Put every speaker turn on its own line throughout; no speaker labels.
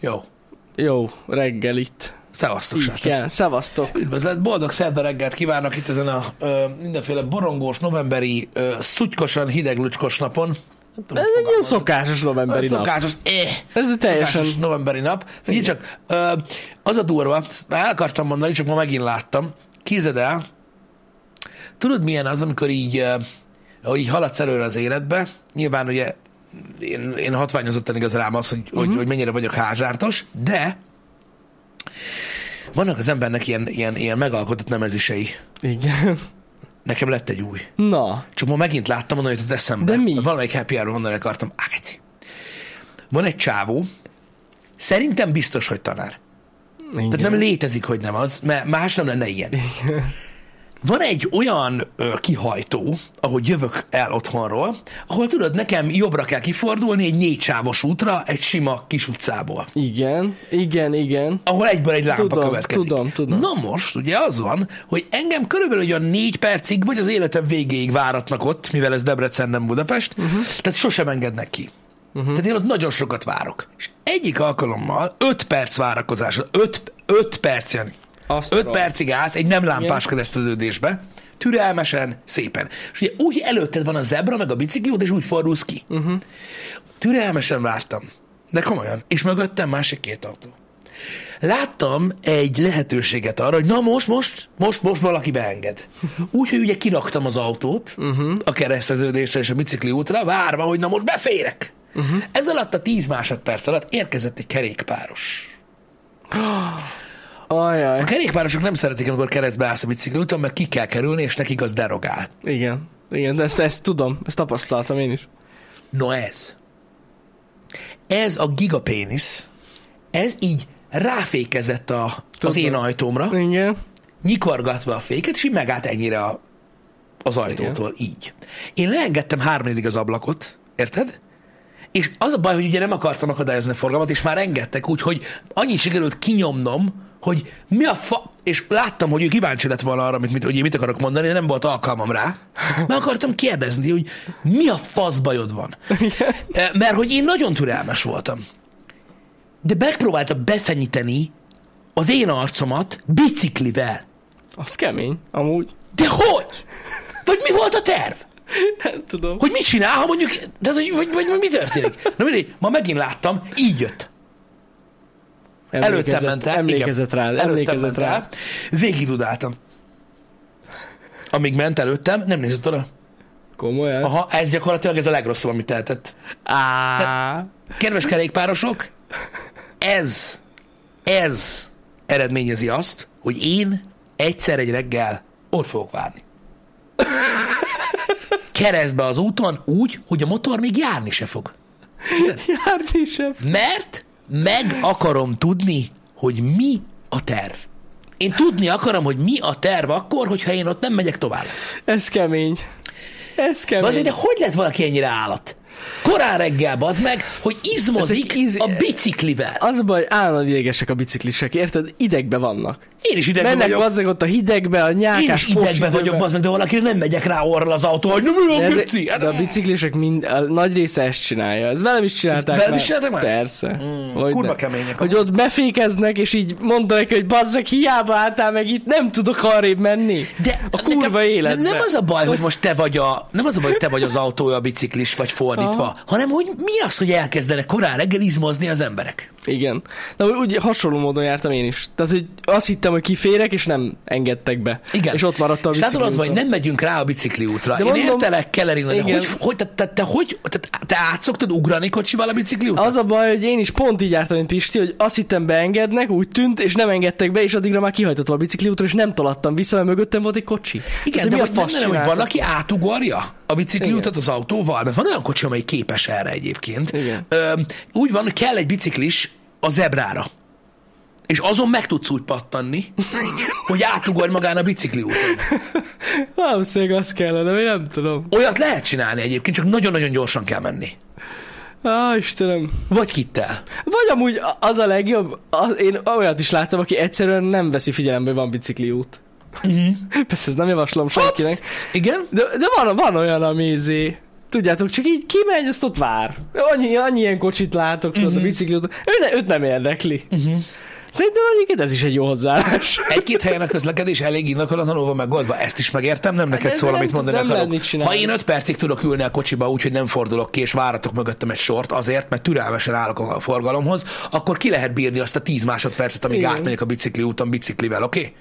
Jó.
Jó reggel itt.
Szevasztok,
Így
srácok.
kell. Szevasztok.
Üdvözlet, boldog szerda reggelt kívánok itt ezen a ö, mindenféle borongós, novemberi, ö, szutykosan hideg lucskos napon. Nem tudom,
Ez
hogy
egy ilyen
fogalmazom.
szokásos novemberi nap.
Szokásos, eh,
Ez egy teljesen...
szokásos novemberi nap. Figyelj csak, ö, az a durva, ezt már el akartam mondani, csak ma megint láttam. Kézed el, tudod milyen az, amikor így, ö, ahogy így haladsz előre az életbe, nyilván ugye én, én hatványozottan igaz rám az, hogy, uh-huh. hogy, hogy mennyire vagyok házsártos, de vannak az embernek ilyen, ilyen, ilyen megalkotott nemezisei.
Igen.
Nekem lett egy új.
Na,
Csak ma megint láttam, onnan jutott eszembe.
De mi?
Valamelyik happy hour onnan akartam. Á, geci. Van egy csávó, szerintem biztos, hogy tanár.
igen.
Tehát nem létezik, hogy nem az, mert más nem lenne ilyen. Van egy olyan ö, kihajtó, ahogy jövök el otthonról, ahol tudod, nekem jobbra kell kifordulni egy négysávos útra, egy sima kis utcából
Igen, igen, igen.
ahol egyből egy lámpa
Tudom,
következik.
tudom, tudom.
Na most, ugye az van, hogy engem körülbelül olyan négy percig, vagy az életem végéig váratnak ott, mivel ez Debrecen nem Budapest, uh-huh. tehát sosem engednek ki. Uh-huh. Tehát én ott nagyon sokat várok. És egyik alkalommal öt perc várakozás, öt öt perc jön.
Azt
öt
rom.
percig állsz egy nem lámpás
Igen.
kereszteződésbe, türelmesen, szépen. És ugye úgy előtted van a zebra, meg a bicikliót, és úgy fordulsz ki.
Mhm.
Uh-huh. Türelmesen vártam. De komolyan. És mögöttem másik két autó láttam egy lehetőséget arra, hogy na most, most, most, most valaki beenged. Úgyhogy ugye kiraktam az autót
Mhm.
uh-huh. a kereszteződésre és a bicikli útra, várva, hogy na most beférek.
Mhm.
Uh-huh. Ez alatt a 10 másodperc alatt érkezett egy kerékpáros.
Ajaj.
A kerékpárosok nem szeretik, amikor keresztbe állsz a bicikli úton, mert ki kell kerülni, és nekik az derogál.
Igen. Igen, de ezt, ezt tudom, ezt tapasztaltam én is.
No ez. Ez a gigapénisz, ez így ráfékezett a, az
Tudom.
én ajtómra,
Igen.
nyikorgatva a féket, és így megállt ennyire a, az ajtótól, így. Én leengedtem háromnegyedig az ablakot, érted? És az a baj, hogy ugye nem akartam akadályozni a forgalmat, és már engedtek úgy, hogy annyit sikerült kinyomnom, hogy mi a fa... És láttam, hogy ő kíváncsi lett volna arra, amit, mit, hogy én mit akarok mondani, de nem volt alkalmam rá. Meg akartam kérdezni, hogy mi a fasz bajod van.
Igen.
E, Mert hogy én nagyon türelmes voltam. De megpróbálta befenyíteni az én arcomat biciklivel.
Az kemény, amúgy.
De hogy? Vagy mi volt a terv?
Nem tudom.
Hogy mit csinál, ha mondjuk, tehát, hogy, vagy, vagy, mi történik? Na mindegy, ma megint láttam, így jött. Előttem ment el. igen.
Emlékezett rá,
Előttem
emlékezett
ment
rá.
el. Végig dudáltam. Amíg ment előttem, nem nézett oda.
Komolyan?
Aha, ez gyakorlatilag ez a legrosszabb, amit tehetett.
Á,
Ah. Kedves kerékpárosok, ez, ez eredményezi azt, hogy én egyszer egy reggel ott fogok várni. Keresztbe az úton úgy, hogy a motor még járni se fog.
járni sem.
Mert meg akarom tudni, hogy mi a terv. Én tudni akarom, hogy mi a terv akkor, hogyha én ott nem megyek tovább.
Ez kemény. Ez kemény.
Azért, de hogy lett valaki ennyire állat? Korán reggel bazd meg, hogy izmozik
Ezek íz-
a biciklivel.
Az a baj, állandóan idegesek a biciklisek, érted? Idegbe vannak.
Én is idegben
Mennek
vagyok.
bazzeg ott a hidegbe, a
Én
nyákás
is idegben
fosdőbe.
vagyok, az meg, de valakire nem megyek rá orral az autó, hogy nem
De,
a
ez,
bici. Hát,
de a biciklisek mind, a nagy része ezt csinálja. Ez velem is csinálták
veled is csinálták már ezt?
Persze. Mm,
kurva kemények
Hogy ott befékeznek, és így mondanak, hogy bazzeg, hiába álltál meg itt, nem tudok arrébb menni.
de
a kurva
nekem-
életben.
Nem az a baj, hogy most te vagy a, nem az a baj, hogy te vagy az autója a biciklis, vagy fordítva, Aha. hanem hogy mi az, hogy elkezdenek korán reggel izmozni az emberek.
Igen. De úgy- úgy hasonló módon jártam én is. Tehát, hogy azt hittem, hogy kiférek, és nem engedtek be.
Igen.
És ott maradtam a
És látod, az
bicikli
vagy,
úton.
nem megyünk rá a bicikli útra. De
De
Én
mondom-
értelek, Kellerin, de
Igen.
hogy, hogy, te, te, te, hogy, te, te át szoktad ugrani kocsival a bicikli útra?
Az a baj, hogy én is pont így jártam, mint Pisti, hogy azt hittem beengednek, úgy tűnt, és nem engedtek be, és addigra már kihajtottam a bicikli útra, és nem taladtam vissza, mert mögöttem volt egy kocsi.
Igen,
Tehát,
de
Hát mi a
hogy, nem,
fasz
nem, hogy
csinálsz?
van, aki átugorja a bicikli
Igen.
utat az autóval, mert van olyan kocsi, amely képes erre egyébként.
Igen.
Ö, úgy van, hogy kell egy biciklis a zebrára. És azon meg tudsz úgy pattanni, hogy átugorj magán a bicikli úton.
Valószínűleg azt kellene, én nem tudom.
Olyat lehet csinálni egyébként, csak nagyon-nagyon gyorsan kell menni.
Á, Istenem.
Vagy kittel.
Vagy amúgy a- az a legjobb, az, én olyat is láttam, aki egyszerűen nem veszi figyelembe, hogy van bicikliút.
Mhm.
Persze ez nem javaslom senkinek.
Igen?
De, de van, van olyan, ami izé, Tudjátok, csak így kimegy, azt ott vár. Annyi, annyi ilyen kocsit látok, tudod,
Mhm.
a bicikli után. Ő ne, őt nem érdekli. Szerintem egyébként ez is egy jó hozzáállás.
Egy-két helyen a közlekedés elég indokolatlanul van megoldva, ezt is megértem, nem neked
de
szól,
Hát nem
amit
tud-
mondani
nem lehet
akarok.
mit csinálni.
Ha én öt percig tudok ülni a kocsiba úgy, hogy nem fordulok ki, és váratok mögöttem egy sort azért, mert türelmesen állok a forgalomhoz, akkor ki lehet bírni azt a 10 másodpercet, amíg
Igen.
átmegyek a bicikli úton biciklivel, oké? Okay?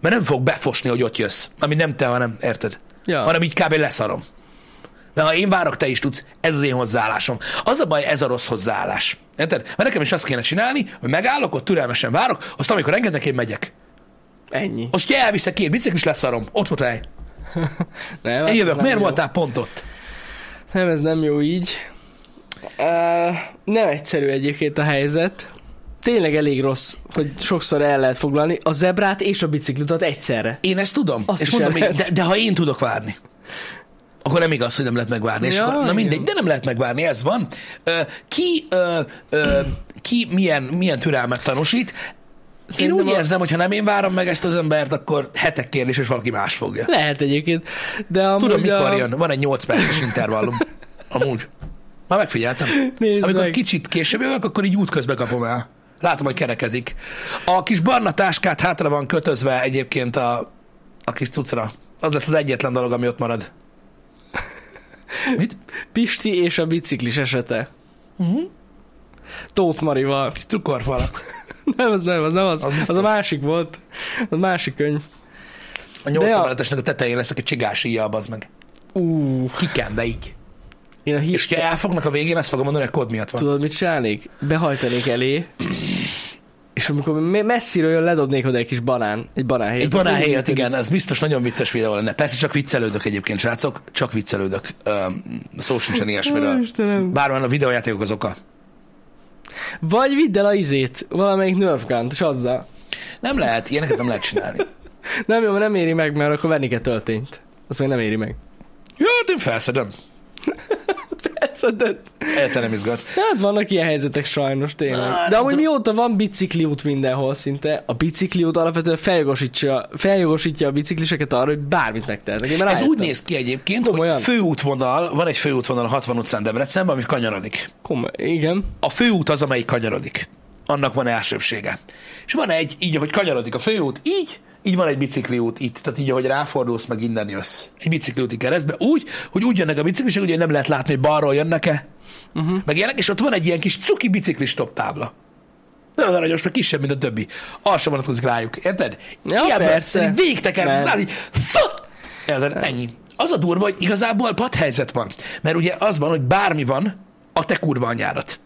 Mert nem fog befosni, hogy ott jössz. Ami nem te, hanem, érted?
Ja.
Hanem így kb. leszarom. De ha én várok, te is tudsz. Ez az én hozzáállásom. Az a baj, ez a rossz hozzáállás. Érted? Mert nekem is azt kéne csinálni, hogy megállok, ott türelmesen várok, azt amikor engednek, én megyek.
Ennyi.
Azt, hogyha elviszek két biciklis, leszarom. Ott volt a hely.
Nem,
Én
hát
jövök.
nem
Miért
jó.
voltál pont ott?
Nem, ez nem jó így. Uh, nem egyszerű egyébként a helyzet. Tényleg elég rossz, hogy sokszor el lehet foglalni a zebrát és a biciklutat egyszerre.
Én ezt tudom.
Azt
és
is
mondom,
el
még,
lehet.
de, de, ha én tudok várni, akkor nem igaz, hogy nem lehet megvárni. És
Ja,
akkor, na
igen.
mindegy, de nem lehet megvárni, ez van. Ö, Ki, ö, ö, ki milyen, milyen türelmet tanúsít? Én
Szerintem
úgy
a-
érzem, hogy ha nem én várom meg ezt az embert, akkor hetek kérdés, és valaki más fogja.
Lehet egyébként, de amúgy
Tudom, mikor
a...
jön. Van egy 8 perces intervallum. Amúgy. Már megfigyeltem.
Nézd
Amikor
meg.
kicsit később jövök, akkor így útközben kapom el. Látom, hogy kerekezik. A kis barna táskát hátra van kötözve egyébként a, a kis cucra. Az lesz az egyetlen dolog, ami ott marad. Mit?
Pisti és a biciklis esete.
Uh-huh.
Tóth Marival.
Kis cukorfalat.
Nem, az nem, az nem
Az
az. Az,
biztos.
az a másik volt. Az másik könyv.
A 8
De a-
emeletesnek a tetején lesz, aki csigás íja, az meg.
Ú,
Kikembe így.
én a
És
hírt
ha elfognak a végén, ezt fogom mondani, hogy kód miatt van.
tudod, mit csinálnék? Behajtanék elé, és amikor me- messziről jön, ledobnék oda egy kis banán, egy banánhéjat.
Egy banánhéjat, igen, ez biztos nagyon vicces videó lenne. Persze csak viccelődök egyébként, srácok, csak viccelődök. Öm, szó sincsen
Ó,
ilyesmiről.
Istenem.
Bármilyen a videójátékok az oka.
Vagy vidd el a izét, valamelyik nerf gun és azzal.
Nem lehet, ilyeneket nem lehet csinálni.
Nem jó, mert nem éri meg, mert akkor venni kell töltényt. Azt még nem éri meg.
Jó, hát én felszedem.
Persze, de...
Egyáltalán nem izgat.
Hát vannak ilyen helyzetek sajnos tényleg.
Na,
De amúgy
tudom.
mióta van bicikliút mindenhol szinte, a bicikliút alapvetően feljogosítja, feljogosítja a bicikliseket arra, hogy bármit megtehetnek. Én már
Ez úgy
rájöttem.
néz ki egyébként,
Tudom,
hogy
olyan.
főútvonal, van egy főútvonal a 60 utcán Debrecenben, ami kanyarodik.
Komoly, igen.
A főút az, amelyik kanyarodik. Annak van elsőbsége. És van egy, így, ahogy kanyarodik a főút, így, így van egy bicikliút itt, tehát így, ahogy ráfordulsz, meg innen jössz. Egy bicikliúti keresztbe, úgy, hogy úgy jönnek a biciklisek, hogy nem lehet látni, hogy balról jönnek-e,
Mhm.
uh-huh. meg ilyenek, és ott van egy ilyen kis cuki biciklis top tábla. Nagyon aranyos, mert kisebb, mint a többi. Alsó vonatkozik rájuk, érted?
Ja, persze. Nem.
látod, így, fa! Érted? Ennyi. Az a durva, hogy igazából padhelyzet van. Mert ugye az van, hogy bármi van, a te kurva anyárat.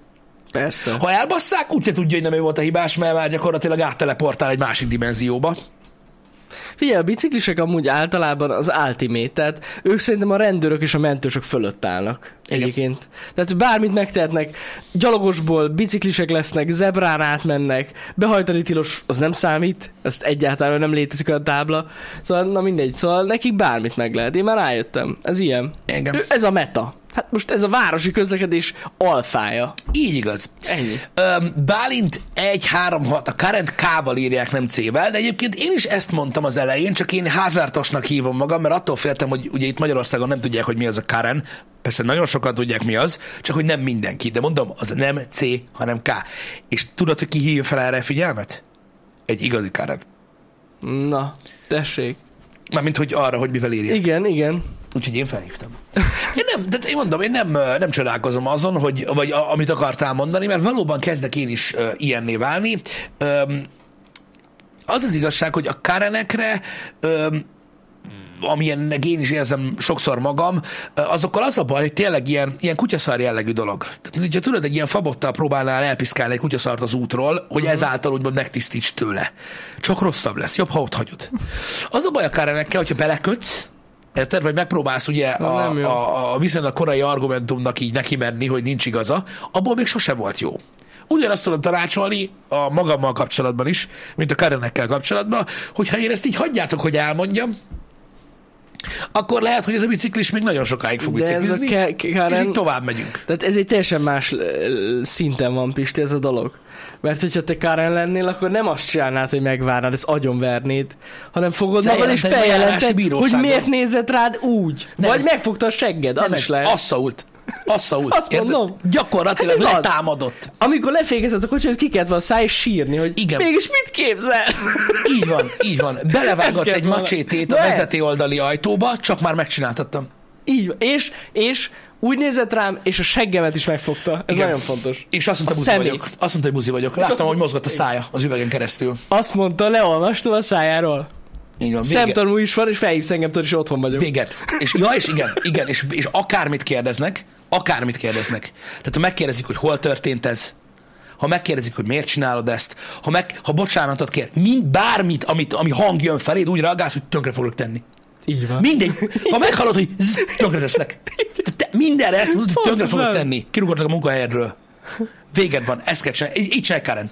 Persze.
Ha elbasszák, úgyse tudja, hogy nem ő volt a hibás, mert már gyakorlatilag átteleportál egy másik dimenzióba.
Figyelj, a biciklisek amúgy általában az ultimate, tehát ők szerintem a rendőrök és a mentősök fölött állnak
Igen.
egyébként. Tehát bármit megtehetnek, gyalogosból biciklisek lesznek, zebrán átmennek, behajtani tilos, az nem számít, ezt egyáltalán nem létezik a tábla, szóval na mindegy, szóval nekik bármit meg lehet, én már rájöttem, ez ilyen.
Igen.
Ő- Ez a meta. Hát most ez a városi közlekedés alfája.
Így igaz.
Ennyi.
Öm, Bálint 1-3-6, a Current K-val írják, nem C-vel, de egyébként én is ezt mondtam az elején, csak én házártosnak hívom magam, mert attól féltem, hogy ugye itt Magyarországon nem tudják, hogy mi az a Karen, persze nagyon sokan tudják mi az, csak hogy nem mindenki, de mondom, az nem C, hanem K. És tudod, hogy ki hívja fel erre a figyelmet? Egy igazi Karen.
Na, tessék.
Mármint, hogy arra, hogy mivel írja.
Igen, igen.
Úgyhogy én felhívtam. Én nem, tehát én mondom, én nem, ö, nem csodálkozom azon, hogy, vagy a, amit akartál mondani, mert valóban kezdek én is uh, ilyenné válni. Um, az az igazság, hogy a karenekre, um, amilyennek én is érzem sokszor magam, ö, azokkal az a baj, hogy tényleg ilyen, ilyen kutyaszar jellegű dolog. Tehát, hogyha tudod, egy ilyen fabottal próbálnál elpiszkálni egy kutyaszart az útról,
Mhm.
hogy ezáltal úgymond megtisztíts tőle. Csak rosszabb lesz, jobb, ha ott hagyod. Az a baj a karenekkel, hogyha belekötsz, Érted? Vagy megpróbálsz ugye a,
nem jó.
a, a viszonylag korai argumentumnak így neki menni, hogy nincs igaza, abból még sose volt jó. Ugyanazt tudom tanácsolni a magammal kapcsolatban is, mint a Karenekkel kapcsolatban, hogyha én ezt így hagyjátok, hogy elmondjam, akkor lehet, hogy ez a biciklis még nagyon sokáig fog
De ez a
biciklizni,
ke- ke-
és
Karen-
így tovább megyünk.
Tehát ez egy teljesen más ö, ö, szinten van, Pisti, ez a dolog. Mert hogyha te Karen lennél, akkor nem azt csinálnád, hogy megvárnád, ezt agyonvernéd, hanem fogod magad és
Feljelented egy eljárási
feljelented, hogy
bíróságon.
miért nézett rád úgy.
Nem,
Vagy
ez-
megfogta a segged, az
Nem,
is lehet.
Asszault. Asszault.
Azt
érted?
mondom.
Gyakorlatilag
Hát ez az.
hát letámadott.
Amikor lefégezett a kocsit, ki kellett volna száj és sírni, hogy
Igen.
mégis mit képzelsz?
Így van, így van.
Ez
Belevágott
kell
egy
volna.
macsétét a
Na ez.
vezeté oldali ajtóba, csak már megcsináltattam.
Így van. És, és úgy nézett rám, és a seggemet is megfogta. Ez
Igen.
nagyon fontos.
És azt mondta,
A
buzi
szemét.
vagyok. Azt mondta, hogy buzi vagyok.
azt
Láttam,
mondta-
hogy mozgott a szája az üvegen keresztül.
Azt mondta, leolvastam a szájáról.
Így van, vége.
Szemtanú is van, és felhívsz engem, tudod, és otthon vagyok.
Véget. És, ja, és igen, igen, és, és akármit kérdeznek, akármit kérdeznek. Tehát ha megkérdezik, hogy hol történt ez, ha megkérdezik, hogy miért csinálod ezt, ha, meg, ha bocsánatot kér, mind bármit, amit, ami hang jön feléd, úgy reagálsz, hogy tönkre fogok tenni.
Így van.
Mindegy. Ha meghallod, hogy zzz, tönkre teszlek. Tehát Te mindenre ezt mondod, hogy tönkre fogod
Pontosan.
tenni. Kirúgodnak a munkahelyedről. Véged van, ezt kell csinálni. Így így csinálj, Karen.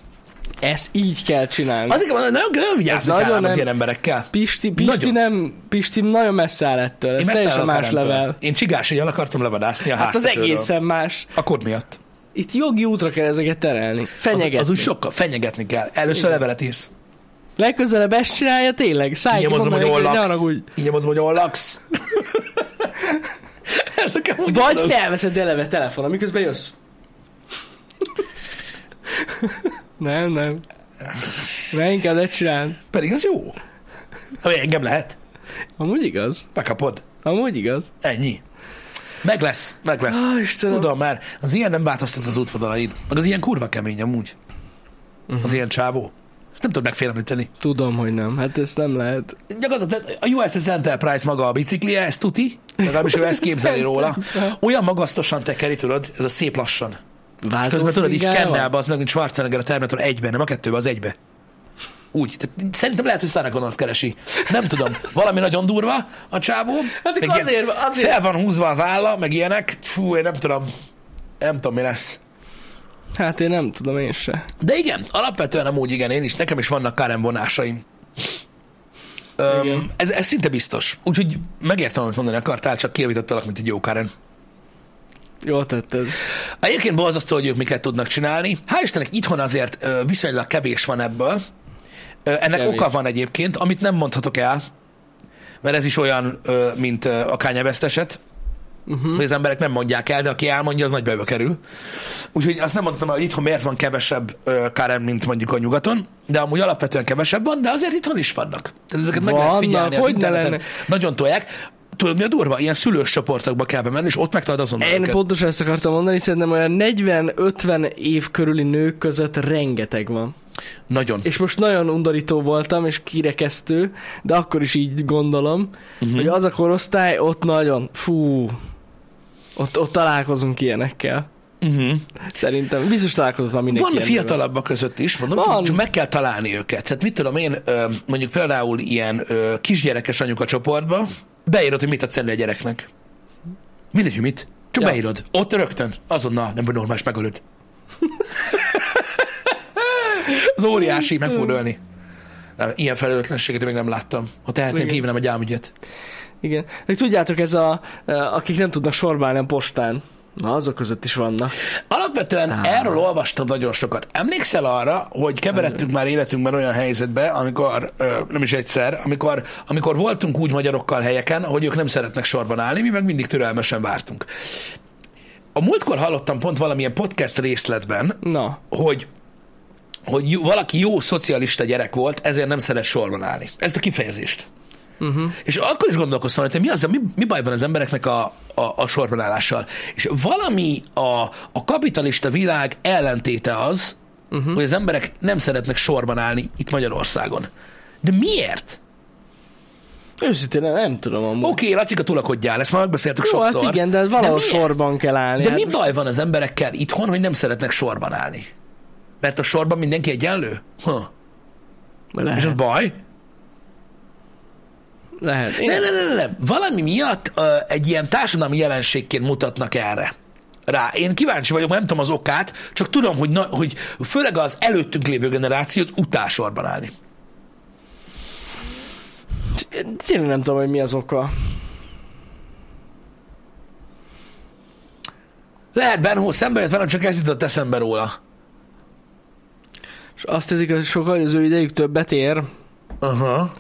Ezt így kell csinálni. Az...
Azért van, nagyon, nagyon vigyázni kell
nagyon
ám az
nem-
ilyen emberekkel.
Pisti, Pisti
Nagyon.
nem, Pisti nagyon messze áll ettől. Ez teljesen
állok
más
Karentől.
level.
Én csigás, hogy el akartam levadászni a
Hát az
háztetőről.
egészen más.
A kód miatt.
Itt jogi útra kell ezeket terelni.
Az,
Fenyegetni.
az úgy sokkal fenyegetni kell. Először levelet írsz.
Legközelebb ezt csinálja tényleg. Szállj
Így
ki,
mozom, hogy
hogy ne
ollaksz.
haragudj.
Így mozom, hogy ollaksz. Ezek amúgy
Vagy
azok.
felveszed eleve telefonon, miközben jössz. nem, nem. Mert inkább ne csinál.
Pedig az jó. Ha engem lehet.
Amúgy igaz.
Bekapod.
Amúgy igaz.
Ennyi. Meg lesz, meg lesz.
Á, Istenem.
Tudom már, az ilyen nem változtat az útvonalaid. Meg az ilyen kurva kemény amúgy.
Mhm.
Uh-huh. Az ilyen csávó. Ezt nem tudod megfélemlíteni.
Tudom, hogy nem. Hát ezt nem lehet.
Gyakorlatilag a USS Enterprise maga a biciklije, ez tuti, legalábbis ő ezt képzeli róla. Olyan magasztosan tekeri, tudod, ez a szép lassan. És
Változó
közben tudod, így
bringával?
szkennel be az meg, mint Schwarzenegger a Terminator egyben, nem a kettőbe, az egybe. Úgy. Tehát szerintem lehet, hogy Sarah Connort keresi. Nem tudom. Valami nagyon durva a csávó.
Hát
meg
akkor azért, azért.
Fel van húzva a válla, meg ilyenek. Fú, én nem tudom. Nem tudom, mi lesz.
Hát én nem tudom én se.
De igen, alapvetően amúgy igen, én is, nekem is vannak Karen vonásaim. Öm, ez, ez szinte biztos. Úgyhogy megértem, amit mondani akartál, csak kiavítottalak, mint egy jó Karen.
Jól tetted.
Egyébként borzasztó, hogy ők miket tudnak csinálni. Hál' Istennek itthon azért ö, viszonylag kevés van ebből. Ö, Ennek
Kevés.
kevés. oka van egyébként, amit nem mondhatok el, mert ez is olyan, ö, mint ö, a kányeveszteset,
Uh-huh.
hogy az emberek nem mondják el, de aki elmondja, az nagy bajba kerül. Úgyhogy azt nem mondhatom el, hogy itthon miért van kevesebb ö, kárem, mint mondjuk a nyugaton, de amúgy alapvetően kevesebb van, de azért itthon is vannak. Tehát ezeket meg lehet
Vannak,
figyelni az
hogy ne
interneten.
lenne.
Nagyon tolják. Tudod, mi a durva? Ilyen szülős csoportokba kell bemenni, és ott megtalálod azonnal
Én
őket.
pontosan ezt akartam mondani, szerintem olyan 40-50 év körüli nők között rengeteg van.
Nagyon.
És most nagyon undorító voltam, és kirekesztő, de akkor is így gondolom,
Mhm.
uh-huh. hogy az a korosztály ott nagyon, fú, ott, ott találkozunk ilyenekkel.
Uh-huh.
Szerintem. Biztos találkozott már mindenki.
Van
ilyennél.
fiatalabbak között is, mondom,
Van.
Van. csak meg kell találni őket. Tehát mit tudom én, ö, mondjuk például ilyen ö, kisgyerekes anyuka csoportba, beírod, hogy mit adsz enni a gyereknek. Mindegy, hogy mit. Csak
Ja.
ja. beírod. Ott rögtön. Azonnal, nem vagy normális, megölöd. Az óriási, meg fog ölni. Nem, ilyen felelőtlenséget még nem láttam. Ha tehetnék,
Igen.
hívnám egy ámügyet.
Igen. De tudjátok, ez a, akik nem tudnak sorbálni a postán. Na, azok között is vannak.
Alapvetően
Á.
erről olvastam nagyon sokat. Emlékszel arra, hogy keveredtünk már életünkben olyan helyzetbe, amikor, ö, nem is egyszer, amikor, amikor voltunk úgy magyarokkal helyeken, hogy ők nem szeretnek sorban állni, mi meg mindig türelmesen vártunk. A múltkor hallottam pont valamilyen podcast részletben,
Na,
hogy hogy jó- valaki jó szocialista gyerek volt, ezért nem szeret sorban állni. Ezt a kifejezést.
Mhm.
Uh-huh. És akkor is gondolkoztam, hogy mi, az, mi, mi baj van az embereknek a, a, a sorban állással. És valami a, a kapitalista világ ellentéte az,
Mhm.
uh-huh. hogy az emberek nem szeretnek sorban állni itt Magyarországon. De miért?
őszintén nem tudom amúgy.
Oké, okay, Lacika, tulakodjál, ezt már megbeszéltük
Hm. Jó,
sokszor.
hát igen, de valahol
miért?
sorban kell állni.
De
hát
mi
most-
baj van az emberekkel itthon, hogy nem szeretnek sorban állni? Mert a sorban mindenki egyenlő? Huh. És az
Lehet,
baj?
lehet. Én,
Nem, nem, nem, nem. Valami miatt ö, egy ilyen társadalmi jelenségként mutatnak erre. Rá. Én kíváncsi vagyok, mert nem tudom az okát, csak tudom, hogy, na, hogy főleg az előttünk lévő generációt utásorban állni.
tényleg nem tudom, hogy mi az oka.
Lehet Benhó szembe jött velem, csak ez jutott eszembe róla.
És azt hiszik, hogy sokan, hogy az ő idejük többet ér.
Aha.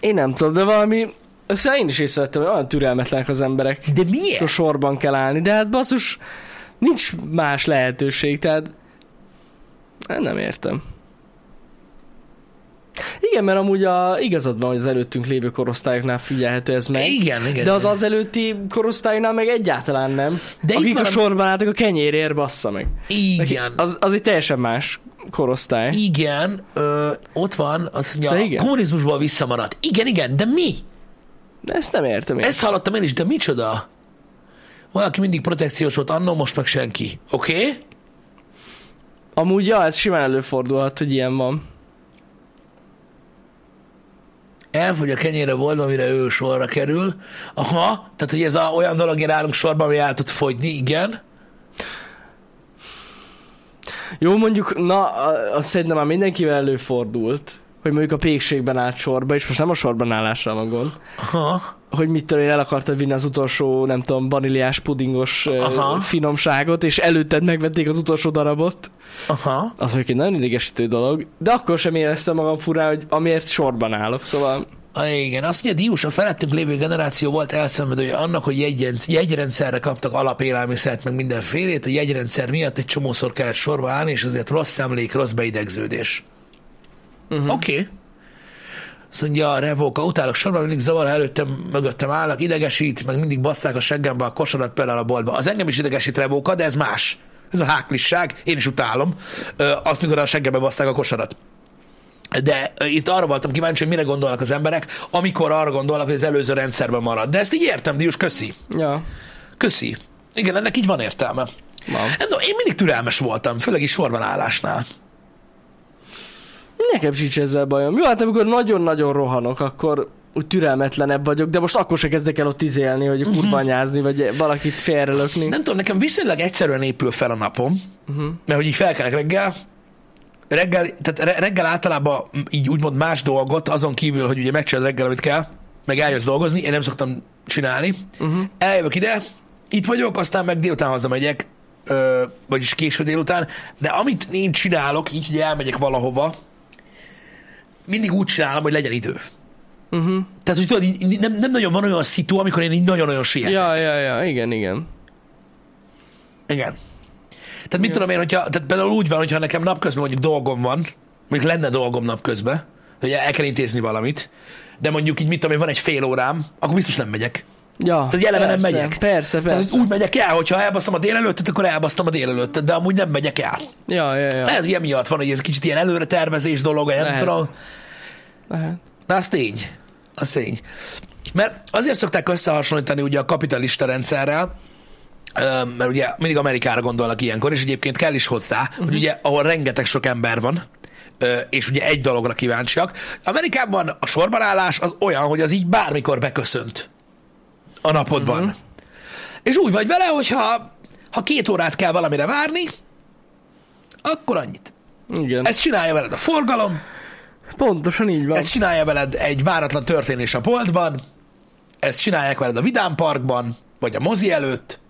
Én nem tudom, de valami... Ezt én is észrevettem, hogy olyan türelmetlenek az emberek.
De
Akkor
miért?
sorban kell állni, de hát basszus, nincs más lehetőség, tehát hát nem értem. Igen, mert amúgy a, igazad van, hogy az előttünk lévő korosztályoknál figyelhető ez meg.
Igen, igen.
De az az előtti korosztályoknál meg egyáltalán nem.
De
De
itt
Akik
van
a
a-
sorban álltak, a kenyérért bassza meg.
Igen.
Az, az egy teljesen más korosztály.
Igen, ö, ott van, azt
De
mondja,
igen.
kommunizmusból visszamaradt. Igen, igen, de mi?
Ezt nem értem én.
Ezt hallottam én is, de micsoda? Valaki mindig protekciós volt, annó most meg senki. Oké? Okay?
Amúgy, ja, ez simán előfordulhat, hogy ilyen van.
Elfogy a kenyér a boltba, mire ő sorra kerül. Aha, tehát hogy ez a, olyan dolog, én állunk sorban, ami el tud fogyni, igen.
Jó, mondjuk, na, a- azt szerintem már mindenkivel előfordult, hogy mondjuk a pékségben állt sorba, és most nem a sorban állással van gond,
Aha,
hogy mit tudom én, el akartad vinni az utolsó, nem tudom, vaníliás pudingos ö,
Aha.
finomságot, és előtted megvették az utolsó darabot.
aha.
Az mondjuk egy nagyon idegesítő dolog, de akkor sem éreztem magam furán, hogy amiért sorban állok, szóval
A, Ah, igen, azt mondja, Diós, a felettünk lévő generáció volt elszenvedője annak, hogy jegyrenc- jegyrendszerre kaptak alapélelmiszert, meg mindenfélét. A jegyrendszer miatt egy csomószor kellett sorba állni, és ezért rossz emlék, rossz beidegződés. Uh-huh. Oké. Okay. Azt mondja, a revóka, utálok sorban, mindig zavar, ha előttem, mögöttem állnak, idegesít, meg mindig basszák a seggembe a kosarat például a boltba. Az engem is idegesít revóka, de ez más. Ez a háklisság, én is utálom. Ö, azt, mikor a seggembe basszák a kosarat. De ö, itt arra voltam kíváncsi, hogy mire gondolnak az emberek, amikor arra gondolnak, hogy az előző rendszerben marad. De ezt így értem, Diós, köszi.
ja,
Köszi. Igen, ennek így van értelme.
Van.
Nem tudom, én mindig türelmes voltam, főleg is sorban állásnál.
nekem sincs ezzel bajom. Jó, hát amikor nagyon-nagyon rohanok, akkor úgy türelmetlenebb vagyok, de most akkor se kezdek el ott izélni, hogy
Mhm.
kurvanyázni, vagy valakit félrelökni. Mhm,
Nem tudom, nekem viszonylag egyszerűen épül fel a napom, uh-huh. mert hogy így felkelek reggel, reggel, tehát re- reggel általában így úgymond más dolgot, azon kívül, hogy ugye megcsinálod reggel, amit kell, meg eljössz dolgozni, én nem szoktam csinálni. Uh-huh. Eljövök ide, itt vagyok, aztán meg délután hazamegyek, ö, vagyis késő délután, de amit én csinálok, így, hogy elmegyek valahova, mindig úgy csinálom, hogy legyen idő. Uh-huh.
mhm.
Tehát, hogy tudod, így- így nem, nem nagyon van olyan szitu, amikor én így nagyon-nagyon sietek.
Ja, ja, ja, igen, igen.
Igen. Tehát mit tudom én, hogyha, tehát például úgy van, hogyha nekem napközben mondjuk dolgom van, mondjuk lenne dolgom napközben, hogy el kell intézni valamit, de mondjuk így mit tudom én, van egy fél órám, akkor biztos nem megyek.
Ja,
Tehát eleve nem
persze,
megyek.
Persze,
Tehát
persze.
úgy megyek el, hogyha elbasztam a délelőttet, akkor elbasztam a délelőttet, de amúgy nem megyek el.
Ja, ja, ja.
Lehet, hogy emiatt van, hogy ez kicsit ilyen előre tervezés dolog, vagy nem
Lehet.
tudom.
Lehet.
Na, az tény. Az tény. Mert azért szokták összehasonlítani ugye a kapitalista rendszerrel, ö, mert ugye mindig Amerikára gondolnak ilyenkor, és egyébként kell is hozzá, uh-huh. hogy ugye ahol rengeteg sok ember van, ö, és ugye egy dologra kíváncsiak. Amerikában a sorbanállás az olyan, hogy az így bármikor beköszönt a napodban. Uh-huh. És úgy vagy vele, hogyha ha két órát kell valamire várni, akkor annyit.
Igen. Ez...
Ezt csinálja veled a forgalom,
Pontosan így van.
ezt csinálja veled egy váratlan történés a boltban, ezt csinálják veled a Vidám Parkban, vagy a mozi előtt.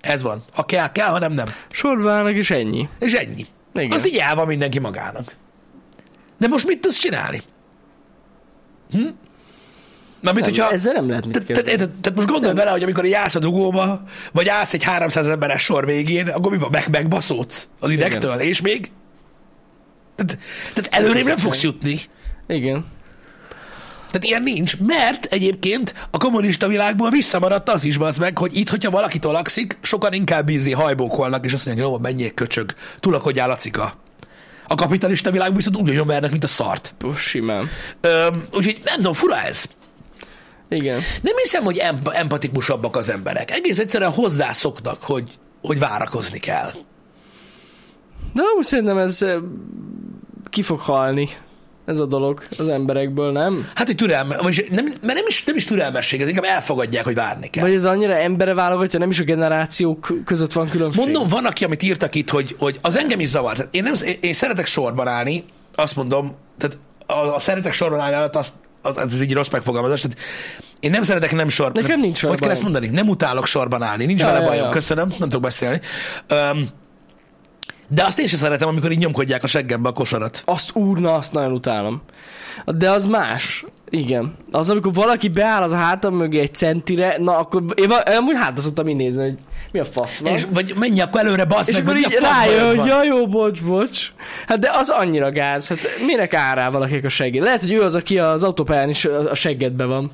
Ez van. Ha kell, kell, ha nem, nem.
Sorba állnak és ennyi.
És ennyi.
Igen.
Az így el van mindenki magának. De most mit tudsz csinálni? Hm? Na, mint
Nem,
hogyha...
Ezzel nem lehet mit
Tehát te, te,
kezdeni.
te, te most gondolj bele, hogy amikor így állsz a dugóba, vagy állsz egy 300 emberes sor végén, akkor mi van? Meg, megbaszódsz az idegtől, és még? Tehát, tehát előrébb nem fogsz jutni.
Igen.
Tehát ilyen nincs, mert egyébként a kommunista világból visszamaradt az is, az meg, hogy itt, hogyha valaki tolakszik, sokan inkább bízi hajbókolnak, és azt mondják, jó, van, menjél köcsög, tulakodjál lacika. A kapitalista világ viszont úgy nyomvernek, mint a szart.
Puh, Simán.
Öm, úgyhogy nem tudom, fura ez.
Igen.
Nem hiszem, hogy emp- empatikusabbak az emberek. Egész egyszerűen hozzászoknak, hogy, hogy várakozni kell.
De amúgy szerintem ez eh, ki fog halni. Ez a dolog az emberekből, nem?
Hát, hogy türelme, vagyis nem, mert nem is, nem is türelmesség, ez inkább elfogadják, hogy várni kell.
Vagy ez annyira embere válogatja, nem is a generációk között van különbség.
Mondom, van, aki, amit írtak itt, hogy, hogy az engem is zavar. Tehát Én, nem, én, én szeretek sorban állni, azt mondom, tehát a, a szeretek sorban állni alatt azt az, az, ez egy rossz megfogalmazás. Tehát én nem szeretek nem sorban.
Nekem
nem-
nincs vele
Hogy kell
bajom.
ezt mondani? Nem utálok sorban állni. Nincs
Ja,
vele
ja,
bajom.
ja.
Köszönöm, nem tudok beszélni. Um, de azt én sem szeretem, amikor így nyomkodják a seggembe a kosarat.
Azt úrna, azt nagyon utálom. De az más. Igen. Az, amikor valaki beáll az hátam mögé egy centire, na akkor én, va- én amúgy hátra szoktam így nézni, hogy mi a fasz van.
És, vagy menj akkor előre, bazd
És
meg,
akkor
hogy
így
mi a fasz bajod
rájön,
van?
hogy ja, jó, bocs, bocs. Hát de az annyira gáz. Hát minek árá valakinek a segéd? Lehet, hogy ő az, aki az autópályán is a seggedbe van.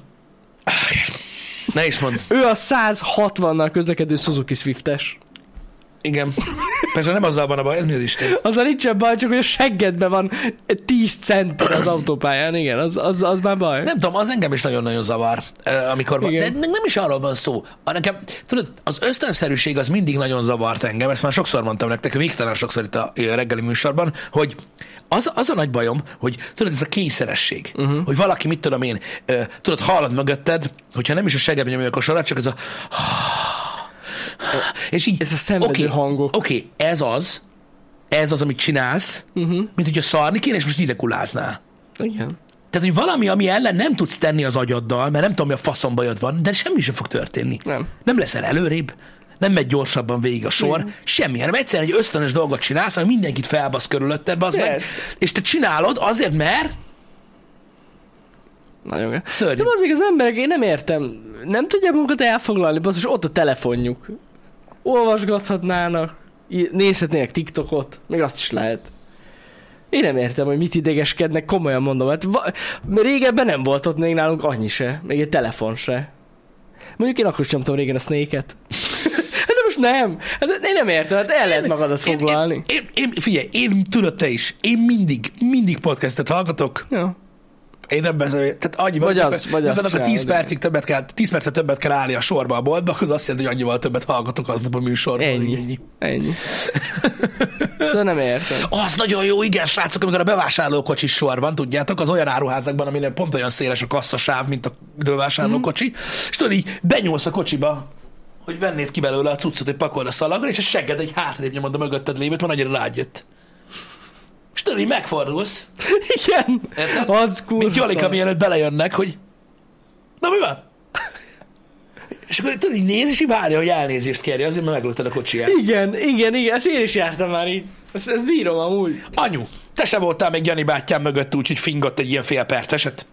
Ne is mondd.
Ő a 160-nal közlekedő Suzuki Swiftes.
Igen. Persze nem azzal van a baj, ez mi az Isten.
Azzal nincsen baj, csak hogy a seggedbe van 10 cent az autópályán. Igen, az, az, az már baj.
Nem tudom, az engem is nagyon-nagyon zavar, eh, amikor van. De
Igen.
még nem is arról van szó. A nekem, tudod, az ösztönszerűség az mindig nagyon zavart engem, ezt már sokszor mondtam nektek, végtelen sokszor itt a eh, reggeli műsorban, hogy az, az a nagy bajom, hogy tudod, ez a kényszeresség,
Mhm.
uh-huh. hogy valaki, mit tudom én, eh, tudod, hallod mögötted, hogyha nem is a segebb nyomja a kosarat, csak ez a és így,
Ez a szenvedő
oké,
hangok.
Oké, okay, ez az, ez az, amit csinálsz,
Mhm.
uh-huh. mint hogyha szarni kéne, és most ide kuláznál.
Igen.
Tehát, hogy valami, ami ellen nem tudsz tenni az agyaddal, mert nem tudom, mi a faszom bajod van, de semmi sem fog történni.
Nem.
Nem leszel előrébb, nem megy gyorsabban végig a sor, mm. semmi, hanem egyszerűen egy ösztönös dolgot csinálsz, ami mindenkit felbasz körülötted, az meg,
Persze.
és te csinálod azért, mert
Nagyon gáz.
szörnyű.
De az igaz, emberek, én nem értem. Nem tudják magukat elfoglalni, basszus, ott a telefonjuk. Olvasgathatnának, í- nézhetnének TikTokot, még azt is lehet. Én nem értem, hogy mit idegeskednek, komolyan mondom. Hát va- régebben nem volt ott még nálunk annyi se, még egy telefon se. Mondjuk én akkor sem tudom régen a snake-et. hát de most nem. Hát én nem értem, hát el lehet magadat
Én-
foglalni.
Én, én, én, figyelj, én tudod te is, én mindig, mindig podcastet hallgatok,
Ja.
én nem beszélek, tehát annyi
Vagy
hogy-
az, vagy
mert
azt
annak a
csinálod,
10
igen.
percig többet kell, 10 percet többet kell állni a sorba a boltba, akkor az azt jelenti, hogy annyival többet hallgatok aznap a műsorban.
Ennyi.
ennyi.
Ennyi. szóval nem értem.
Az nagyon jó, igen, srácok, amikor a bevásárlókocsis sor van, tudjátok, az olyan áruházakban, aminél pont olyan széles a kasszasáv, mint a bevásárlókocsi,
Mhm.
és tudod, így benyúlsz a kocsiba, hogy vennéd ki belőle a cuccot, hogy pakold a szalagra, és a segged egy hátrébb nyomod a mögötted lévőt, mert annyira rájött. És tudod, így megfordulsz,
Igen.
Érted?
Az
mint
kurva
Jolika,
szar.
mielőtt belejönnek, hogy na mi van? És akkor tudod, így néz, és így várja, hogy elnézést kérje, azért, mert meglőtted a kocsiját.
Igen, igen, igen, ezt én is jártam már így. Ezt, ezt bírom amúgy.
Anyu, te se voltál még Jani bátyám mögött úgy, hogy fingott egy ilyen fél perceset?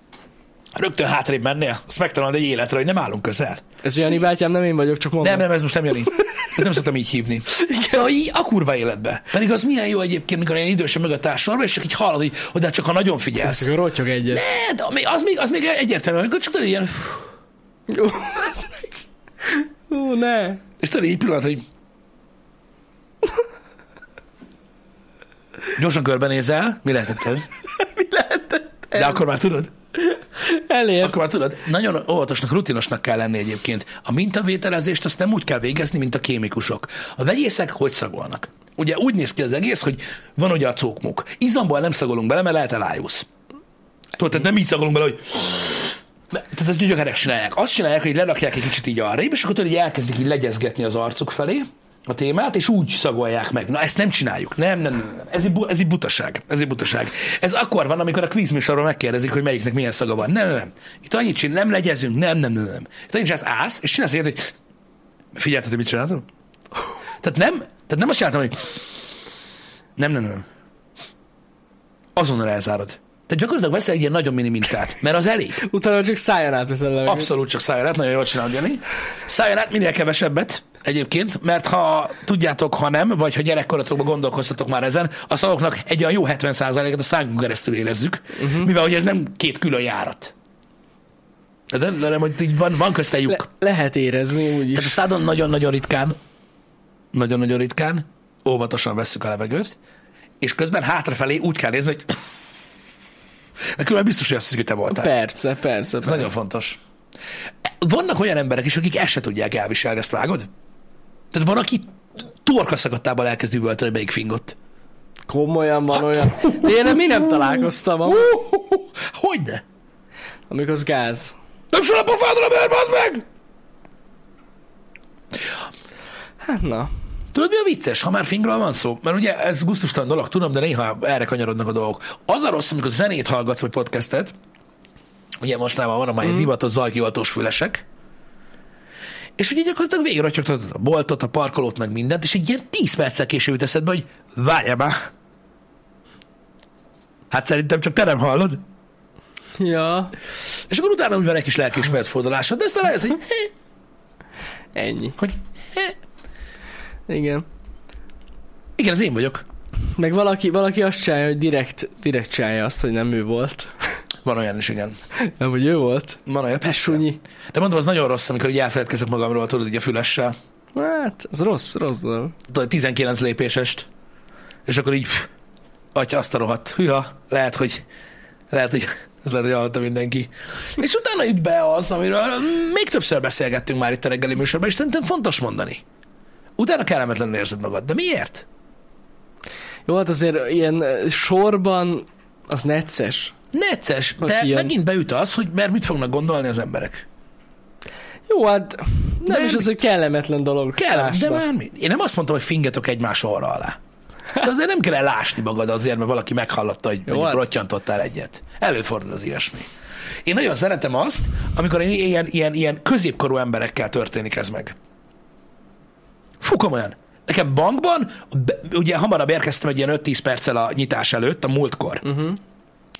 Rögtön hátrébb mennél? Azt megtanulod egy életre, hogy nem állunk közel.
Ez Jani bátyám, nem én vagyok, csak mondom.
Nem, nem, ez most nem Jani. Ezt nem szoktam így hívni. Szóval így a kurva életbe. Pedig az milyen jó egyébként, mikor ilyen idősen mögött áll sorba, és csak így hallod, hogy oda csak ha nagyon figyelsz.
Csak a rotyog egyet.
Ne, de ami- az még, az még egyértelmű, amikor csak tudod ilyen,
Ó, az meg. Ó, ne.
és tudod így pillanatra így... Gyorsan körbenézel, mi lehetett ez?
Mi lehetett?
De akkor már tudod?
Elér.
Akkor már tudod, nagyon óvatosnak, rutinosnak kell lenni egyébként. A mintavételezést azt nem úgy kell végezni, mint a kémikusok. A vegyészek hogy szagolnak? Ugye úgy néz ki az egész, hogy van ugye a cókmuk. Izomból nem szagolunk bele, mert lehet elájulsz. Tudod, tehát nem így szagolunk bele, hogy... Ne, Tehát ezt gyönyörek csinálják. Azt csinálják, hogy lerakják egy kicsit így arrébb, és akkor tudod, így elkezdik így legyezgetni az arcuk felé a témát, és úgy szagolják meg. Na, ezt nem csináljuk. Nem, nem, nem. nem. Ez, egy, bu- ez egy butaság. Ez egy butaság. Ez akkor van, amikor a quiz műsorban megkérdezik, hogy melyiknek milyen szaga van. Nem, nem, nem. Itt annyit csinál, nem legyezünk. Nem, nem, nem, nem. Itt annyit csinálsz, állsz, és csinálsz ilyet, hogy figyelted, hogy mit csináltam? Tehát nem, tehát nem azt csináltam, hogy nem, nem, nem. Azonnal elzárod. Tehát gyakorlatilag veszel egy ilyen nagyon mini mintát, mert az elég.
Utána csak száján átveszel le.
Abszolút csak szálljon át, nagyon jól csinálod, Jani. Szálljon át minél kevesebbet egyébként, mert ha tudjátok, ha nem, vagy ha gyerekkoratokban gondolkoztatok már ezen, a szavaknak egy olyan jó 70%-et a szánkunk keresztül érezzük, uh-huh. mivel hogy ez nem két külön járat. De, de, de, hogy így van, van közte lyuk.
Le- lehet érezni úgy
Tehát
is.
a szádon nagyon-nagyon ritkán, nagyon-nagyon ritkán, óvatosan vesszük a levegőt, és közben hátrafelé úgy kell nézni, hogy mert különben biztos, hogy azt hiszik, hogy te voltál.
Persze, persze.
Ez
persze.
nagyon fontos. Vannak olyan emberek is, akik ezt se tudják elviselni, ezt vágod? Tehát van, aki torka szakadtában elkezd üvölteni, hogy melyik fingott.
Komolyan
Hát-
van olyan. De én nem, mi nem találkoztam, am-
Hú-hú-hú, Hogyne?
amikor az gáz.
Nem sül a pofádra, mert bazd meg!
Hát na.
Tudod, mi a vicces, ha már fingról van szó? Mert ugye ez gusztustalan dolog, tudom, de néha erre kanyarodnak a dolgok. Az a rossz, amikor zenét hallgatsz, vagy podcastet, Ugye mostanában van a mai mm. divatos zajkioltós fülesek, és ugye gyakorlatilag végigratyogtatod a boltot, a parkolót, meg mindent, és egy ilyen 10 perccel később jut eszedbe, hogy várjál már. Hát szerintem csak te nem hallod.
Ja,
És akkor utána úgy van egy kis lelkiismeret fordulásod, de aztán rájössz, hogy, hé,
ennyi.
hogy hé.
Igen.
igen, az én vagyok.
Meg valaki, valaki azt csinálja, hogy direkt, direkt csinálja azt, hogy nem ő volt.
Van olyan is, igen.
Nem, hogy ő volt.
Van olyan, persze.
Sunyi.
De mondom, az nagyon rossz, amikor így elfeledkezek magamról, tudod, így a fülessel.
Hát, az rossz, rossz dolog.
Tudod, 19 lépésest. És akkor így, pff, atya, azt a rohadt. Hűha, lehet, hogy, lehet, hogy ez lehet, hogy hallotta mindenki. És utána jut be az, amiről még többször beszélgettünk már itt a reggeli műsorban, és szerintem fontos mondani. Utána kellemetlenül érzed magad. De miért?
Jó, hát azért ilyen ö, sorban az necces.
Necces,
Hogy
de
ilyen.
megint beüt az, hogy mert mit fognak gondolni az emberek.
Jó, hát nem
Nem.
is az, hogy kellemetlen dolog.
Kell, de
másba.
már mi? Én nem azt mondtam, hogy fingetok egymás orra alá. De azért nem kell elásni magad azért, mert valaki meghallotta, hogy Jó,
hát.
rottyantottál egyet. Előfordul az ilyesmi. Én nagyon szeretem azt, amikor én ilyen, ilyen, ilyen középkorú emberekkel történik ez meg. Fú, komolyan. Nekem bankban, be, ugye hamarabb érkeztem egy ilyen 5-10 perccel a nyitás előtt, a múltkor. Uh-huh.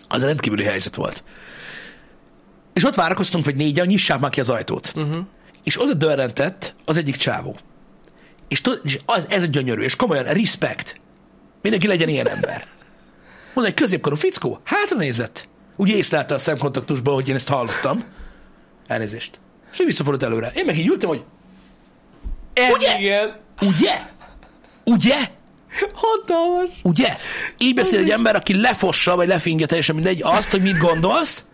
Az rendkívüli helyzet volt. És ott várakoztunk, hogy négyen nyissák már ki az ajtót. Uh-huh. És oda dörrentett az egyik csávó. És, tud, és az, ez a gyönyörű, és komolyan, respect. Mindenki legyen ilyen ember. Mondom, egy középkorú fickó, hátra nézett. Úgy észlelte a szemkontaktusban, hogy én ezt hallottam. Elnézést. És ő visszafordult előre. Én meg így ültem, hogy
Ez
Ugye?
igen.
ugye? Ugye?
Hatalmas.
Ugye? Így beszél egy ember, aki lefossa, vagy lefinge teljesen mindegy azt, hogy mit gondolsz,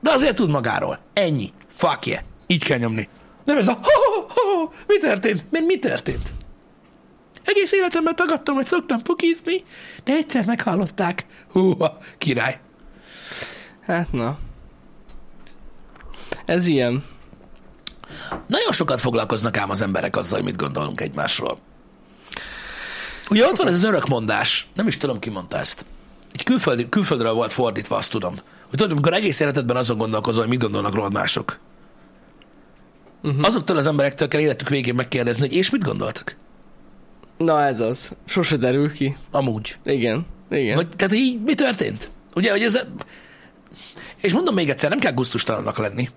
de azért tud magáról. Ennyi. Fuck yeah. Így kell nyomni. Nem ez a ho, ho, ho, mi történt? Mert mi történt? Egész életemben tagadtam, hogy szoktam pukizni, de egyszer meghallották. Húha, király.
Hát na. Ez ilyen.
Nagyon sokat foglalkoznak ám az emberek azzal, hogy mit gondolunk egymásról. Ugye ott van ez az örökmondás, nem is tudom, ki mondta ezt. Egy külföldi, külföldről volt fordítva, azt tudom. Hogy tudod, amikor egész életedben azon gondolkozol, hogy mit gondolnak rólad mások. Uh-huh. Azoktól az emberektől kell életük végén megkérdezni, hogy és mit gondoltak?
Na ez az. Sose derül ki.
Amúgy.
Igen. Igen.
Vagy, tehát, hogy így mi történt? Ugye, hogy ez... És mondom még egyszer, nem kell gusztustalannak lenni.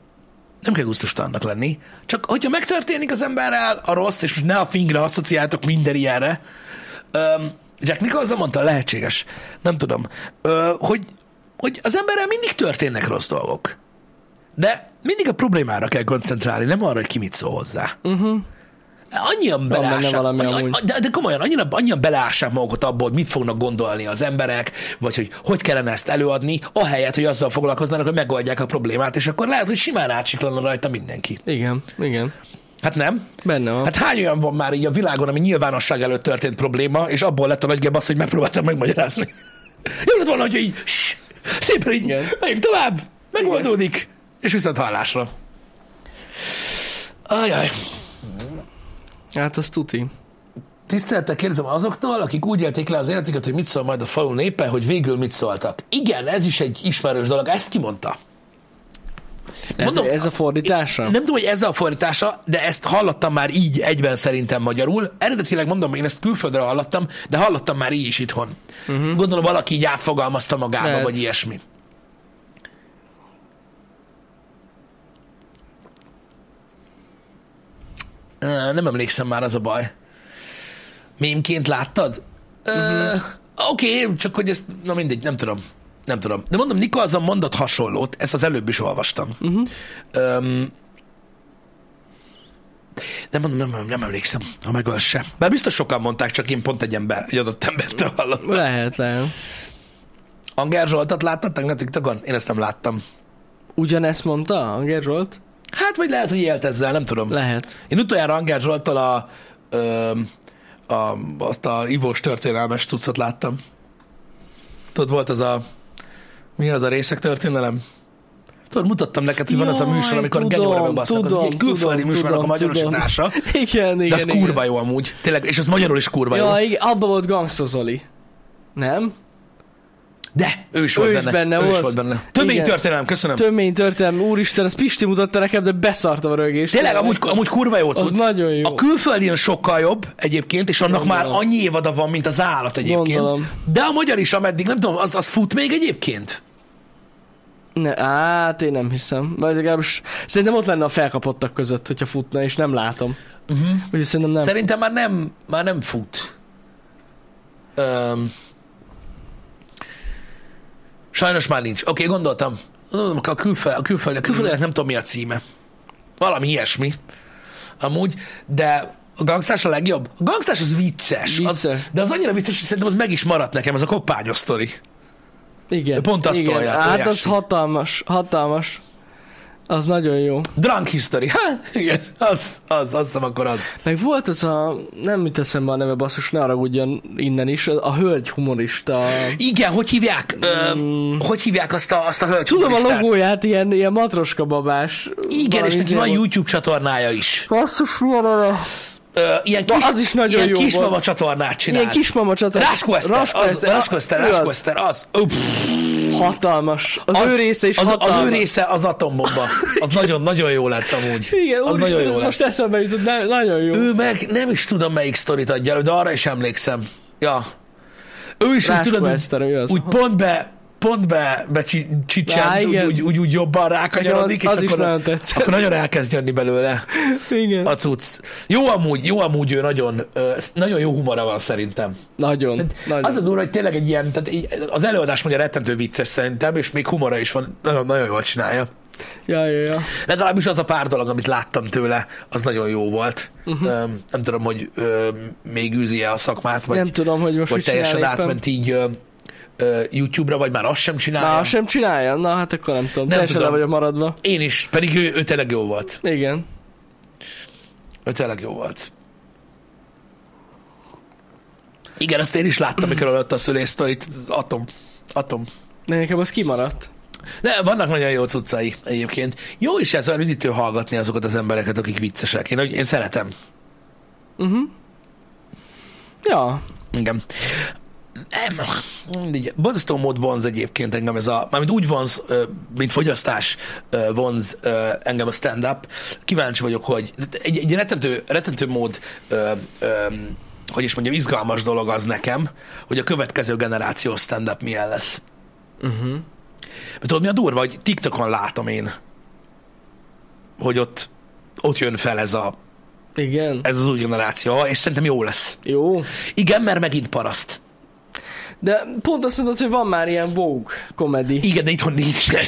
Nem kell gusztustalannak lenni. Csak hogyha megtörténik az emberrel a rossz, és most ne a fingre asszociáltok minden ilyenre. Öm, Jack Nicholson mondta, lehetséges. Nem tudom. Ö, hogy, hogy az emberrel mindig történnek rossz dolgok. De mindig a problémára kell koncentrálni, nem arra, hogy ki mit szól hozzá. Uh-huh. Annyian
Mhm. benne
belássák,
valami amúgy.
de, de komolyan, annyira, annyian belássák magukat abból, hogy mit fognak gondolni az emberek, vagy hogy hogy kellene ezt előadni, ahelyett, hogy azzal foglalkoznának, hogy megoldják a problémát, és akkor lehet, hogy simán átsiklana rajta mindenki.
Igen. Igen.
Hát nem?
Benne van.
Hát hány olyan van már így a világon, ami nyilvánosság előtt történt probléma, és abból lett a nagy az, hogy megpróbáltam megmagyarázni. Jó lett volna, hogy így ssss, szépen így
Igen.
megyünk tovább, megoldódik, és viszont hallásra. Ajaj.
Hát az tuti.
Tisztelettel kérdezem azoktól, akik úgy élték le az életüket, hogy mit szól majd a falu népe, hogy végül mit szóltak. Igen, ez is egy ismerős dolog, ezt kimondta.
Mondom, ez, ez a fordítása?
Nem tudom, hogy ez a fordítása, de ezt hallottam már így egyben szerintem magyarul. Eredetileg mondom, én ezt külföldre hallottam, de hallottam már így is itthon. Uh-huh. Gondolom valaki így átfogalmazta magába,
Mhm. Lehet.
vagy ilyesmi. Ö, Nem emlékszem már, az a baj. Mémként láttad? Uh-huh. Oké, okay, csak hogy ezt, na mindegy, nem tudom. Nem tudom. De mondom, Nikolson mondott hasonlót, ezt az előbb is olvastam. Uh-huh. Öm, de mondom, nem, nem emlékszem, ha megöl sem. Bár biztos sokan mondták, csak én pont egy ember, egy adott embertől hallottam.
Lehet, lehet.
Anger Zsoltat láttad tegnap TikTokon? Én ezt nem láttam.
Ugyanezt mondta Anger Zsolt?
Hát, vagy lehet, hogy élt ezzel, nem tudom.
Lehet.
Én utoljára Anger Zsolttal a, öm, a, azt a ivós történelmes cuccot láttam. Tudod, volt az a... Mi az a részek történelem? Tudod, mutattam neked, hogy van az a
Jaj,
műsor, amikor
tudom,
genyóra bebasznak. Az
tudom,
ugye egy külföldi
tudom,
műsornak a
tudom,
magyarosítása.
tudom. Igen, igen,
De az
igen.
kurva jó amúgy. Tényleg, és az magyarul is kurva jó.
Ja, igen, abban volt Gangsta Zoli. Nem?
De, ő is volt
Ő is
benne.
benne
ő is
volt.
volt benne. Tömény
Igen.
történelem, köszönöm.
Tömény történelem, úristen, ezt Pisti mutatta nekem, de beszartam a rögést.
Tényleg, amúgy, amúgy kurva jó cucc.
nagyon jó.
A külföldin sokkal jobb egyébként, és annak
Gondolom.
már annyi évada van, mint az állat egyébként.
Gondolom.
De a magyar is, ameddig, nem tudom, az, az fut még egyébként?
Ne, hát én nem hiszem. Vagy legalábbis szerintem ott lenne a felkapottak között, hogyha futna, és nem látom.
Mhm.
Uh-huh. Úgyhogy szerintem nem.
Szerintem már nem, már nem fut. Öm, sajnos már nincs. Oké, okay, gondoltam. Gondolom, a, külföld, a külföld, a külföldnek nem tudom, mi a címe. Valami ilyesmi. Amúgy, de a gangstás a legjobb? A gangstás az vicces. Az,
Vicces.
de az annyira vicces, hogy szerintem az meg is maradt nekem, az a koppányos sztori.
Igen.
Pont azt
igen.
tolják,
Hát az
óriási.
hatalmas, hatalmas. Az nagyon jó.
Drunk History. Hát, igen, az, az, azt hiszem akkor az.
Meg volt az a, nem mit eszembe a neve basszus, ne haragudjon innen is, a hölgy humorista.
Igen, hogy hívják? Ö, Hogy hívják azt a, azt a hölgyet?
Tudom a logóját, ilyen, ilyen matroska babás.
Igen, és neki van
jó.
YouTube csatornája is.
Basszus, mi van arra?
Ö, ilyen
Na,
kis,
az is nagyon
ilyen
jó
kismama
volt.
csatornát csinál.
Ilyen kismama csata.
Rásko Eszter, az, Rásko
Rasko Eszter,
Eszter,
ő az.
Rásko Eszter, az. Ö, pff,
Hatalmas. Az,
az-
ő része is
az,
hatalmas.
az ő része az atombomba. Az nagyon-nagyon jó lett amúgy.
Igen,
az nagyon
úristen,
jó
ez
lett.
most eszembe jutott, ne, nagyon jó.
Ő meg nem is tudom, melyik sztorit adja elő, de arra is emlékszem. Ja. Ő is úgy,
Rásko
tudod,
Eszter, ő az.
úgy pont be, pont be, be csi-
Á,
csicsent, úgy,
igen.
úgy, úgy, úgy, jobban rákanyarodik,
Az- az
és
is
akkor,
nagyon tetszett.
akkor nagyon elkezd jönni belőle
Igen.
a cucc. Jó amúgy, jó amúgy ő nagyon, ö, nagyon jó humora van szerintem.
Nagyon, nagyon.
Az a durva, hogy tényleg egy ilyen, tehát így- az előadás mondja rettentő vicces szerintem, és még humora is van, nagyon, nagyon jól csinálja.
Ja, ja, ja.
Legalábbis az a pár dolog, amit láttam tőle, az nagyon jó volt.
Mhm.
Uh-huh. Öm, nem tudom, hogy öm, még űzi-e a szakmát, vagy,
nem tudom, hogy most
vagy
mit csinál
teljesen
éppen.
átment így ö, ö, YouTube-ra, vagy már azt sem csinálja.
Már azt sem csinálja? Na hát akkor nem tudom. Teljesen
tudom.
le vagyok maradva.
Én is, pedig ő, ő tényleg jó volt.
Igen.
Ő tényleg jó volt. Igen, azt én is láttam, mikor előtt a szülés sztorit, az atom. Atom.
De nekem az kimaradt.
De vannak nagyon jó cuccai egyébként. Jó is ez olyan üdítő hallgatni azokat az embereket, akik viccesek. Én, én szeretem.
Ja.
Igen. Nem. Így, Borzasztó mód vonz egyébként engem ez a, mármint úgy vonz, ö, mint fogyasztás ö, vonz ö, engem a stand-up. Kíváncsi vagyok, hogy egy, egy rettentő, rettentő mód, ö, ö, hogy is mondjam, izgalmas dolog az nekem, hogy a következő generáció stand-up milyen lesz. Uh-huh. Mert tudod, mi a durva, hogy TikTokon látom én, hogy ott, ott jön fel ez, a,
Igen.
ez az új generáció, és szerintem jó lesz.
Jó.
Igen, mert megint paraszt.
De pont azt mondod, hogy van már ilyen Vogue komedi.
Igen, de itthon nincsen.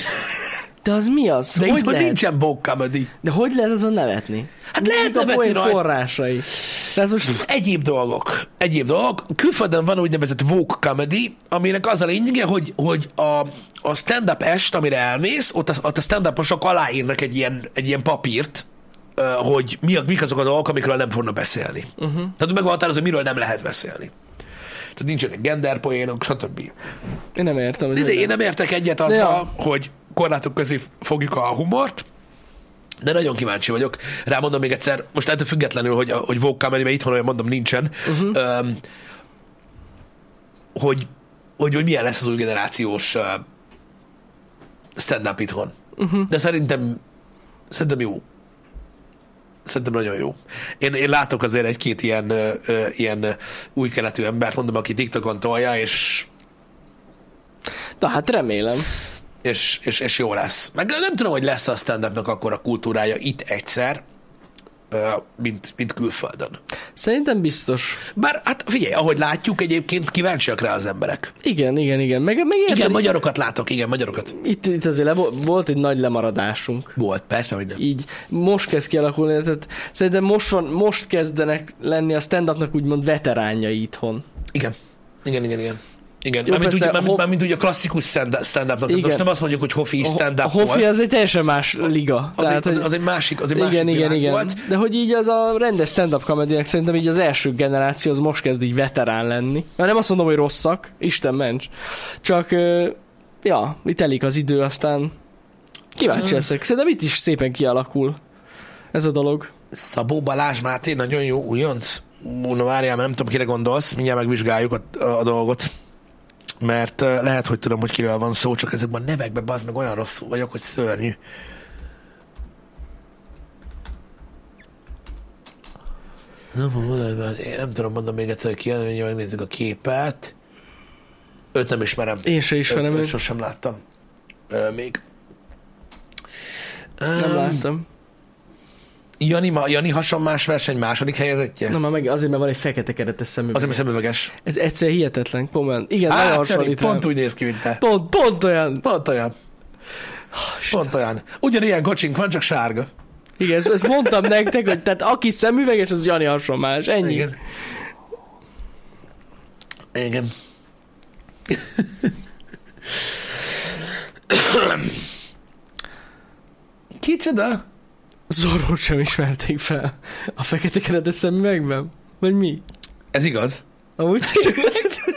De az mi az?
De
hogy
itthon
lehet?
nincsen woke comedy.
De hogy lehet azon nevetni?
Hát lehet
Mik a
nevetni
poén
rajta.
forrásai. Tehát most
Egyéb dolgok. Egyéb dolgok. Külföldön van úgynevezett woke comedy, aminek az a lényege, hogy, hogy a, a stand-up est, amire elmész, ott a, ott a stand-uposok aláírnak egy ilyen, egy ilyen papírt, ö, hogy mi, a- mik azok a dolgok, amikről nem fognak beszélni.
Mhm.
Uh-huh. Tehát meg van határozva, hogy miről nem lehet beszélni. Tehát nincsenek genderpoénok, stb.
én nem értem. hogy
De
hogy
én nem értek egyet azzal,
Ja.
hogy korlátok közé fogjuk a humort, de nagyon kíváncsi vagyok. Rámondom még egyszer, most ettől függetlenül, hogy, hogy Vogue Comedy, mert itthon olyan mondom nincsen, uh-huh. öm, hogy, hogy, hogy milyen lesz az új generációs ö, stand-up itthon. Uh-huh. De szerintem, szerintem jó. Szerintem nagyon jó. Én, én látok azért egy-két ilyen, ö, ö, ilyen ö, új keletű embert, mondom, aki TikTokon tolja, és
Na hát remélem.
és, és, és jó lesz. Meg nem tudom, hogy lesz a stand-upnak akkor a kultúrája itt egyszer, ö, mint, mint külföldön.
Szerintem biztos.
Bár hát figyelj, ahogy látjuk, egyébként kíváncsiak rá az emberek.
Igen, igen, igen. Meg, meg érted,
Igen, magyarokat látok, igen, magyarokat.
itt, itt azért le, volt egy nagy lemaradásunk.
Volt, persze, hogy nem.
Így most kezd kialakulni, tehát szerintem most, van, most kezdenek lenni a stand-upnak úgymond veteránjai itthon.
Igen, igen, igen, igen. Igen,
Jó,
mármint úgy,
persze,
mármint,
ho-
mármint úgy a klasszikus stand- stand-upnak, tehát
Igen.
most nem azt mondjuk, hogy Hofi is
A ho-
stand-up
a Hofi
volt.
az egy teljesen más liga.
az,
tehát,
egy, az,
hogy-
az, egy másik, az egy másik
igen, igen,
világ
igen.
volt.
De hogy így az a rendes stand-up komedinek szerintem így az első generáció az most kezd így veterán lenni. Mert nem azt mondom, hogy rosszak, Isten ments. Csak, ö, ja, itt telik az idő, aztán
Mm.
kíváncsi leszek. Szerintem itt is szépen kialakul ez a dolog.
Szabó Balázs Máté, nagyon jó újonc. Ú, Na várjál, mert nem tudom, kire gondolsz, mindjárt megvizsgáljuk a, a, a dolgot. mert ö, lehet, hogy tudom, hogy kiről van szó, csak ezekben a nevekben bazd meg olyan rosszul vagyok, hogy szörnyű. Nem, valamivel- hát én nem tudom, mondom még egyszer, hogy ki jön, mindjárt megnézzük a képet. Őt nem ismerem.
Én se ismerem
őt,
őt.
őt sosem láttam. Ö, még.
Nem
Öm,
láttam.
Jani, ma- Jani hasonmás verseny második helyezettje?
Na már meg azért, mert van egy fekete keretes szemüveg.
Az, ami szemüveges.
Ez egyszer hihetetlen, komolyan. Igen,
Á,
nagyon
Jani,
hasonlít.
pont
rám.
úgy néz ki, mint te.
pont, pont olyan.
Pont olyan. Pont olyan. Ugyanilyen kocsink van, csak sárga.
Igen, ezt, ezt mondtam nektek, hogy tehát aki szemüveges, az Jani hasonlás. Ennyi.
Igen. Igen. Kicsoda?
Zorrót sem ismerték fel a fekete keretes szemüvegben? Vagy mi?
Ez igaz.
Amúgy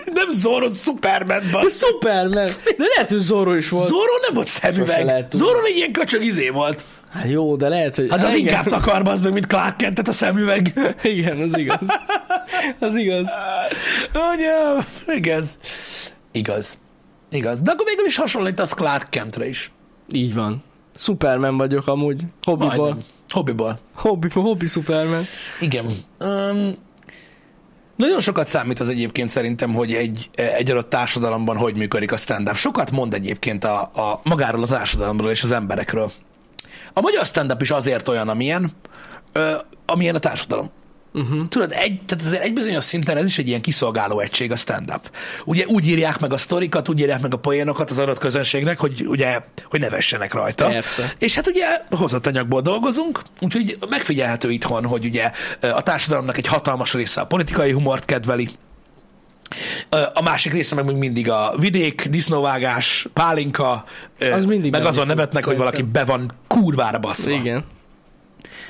Nem Zorro Superman,
De
basz.
Superman! De lehet, hogy Zorro is volt.
Zorro nem volt
Sose lehet
szemüveg.
tudni.
Zorro egy ilyen köcsög izé volt.
Hát jó, de lehet, hogy...
Hát az
igen.
inkább takar, az meg, mint Clark Kentet a szemüveg.
Igen, az igaz. Az igaz.
Anyám, igaz. Igaz. Igaz. De akkor végül is hasonlítasz Clark Kentre is.
Így van. Superman vagyok amúgy. Hobbiból.
Majdnem. Hobbiból.
Hobbiból, hobbi Superman.
Igen. Um, nagyon sokat számít az egyébként szerintem, hogy egy, egy adott társadalomban hogy működik a stand-up. Sokat mond egyébként a, a magáról a társadalomról és az emberekről. A magyar stand-up is azért olyan, amilyen, ö, amilyen a társadalom.
Mhm.
Uh-huh. Tudod, egy, tehát azért egy bizonyos szinten ez is egy ilyen kiszolgáló egység a stand-up. Ugye úgy írják meg a sztorikat, úgy írják meg a poénokat az adott közönségnek, hogy ugye, hogy ne vessenek rajta.
Persze.
És hát ugye hozott anyagból dolgozunk, úgyhogy megfigyelhető itthon, hogy ugye ö, a társadalomnak egy hatalmas része a politikai humort kedveli, ö, a másik része meg még mindig a vidék, disznóvágás, pálinka, ö,
Az mindig
meg
benne
azon
fog,
nevetnek, hogy valaki be van kurvára baszva.
Igen.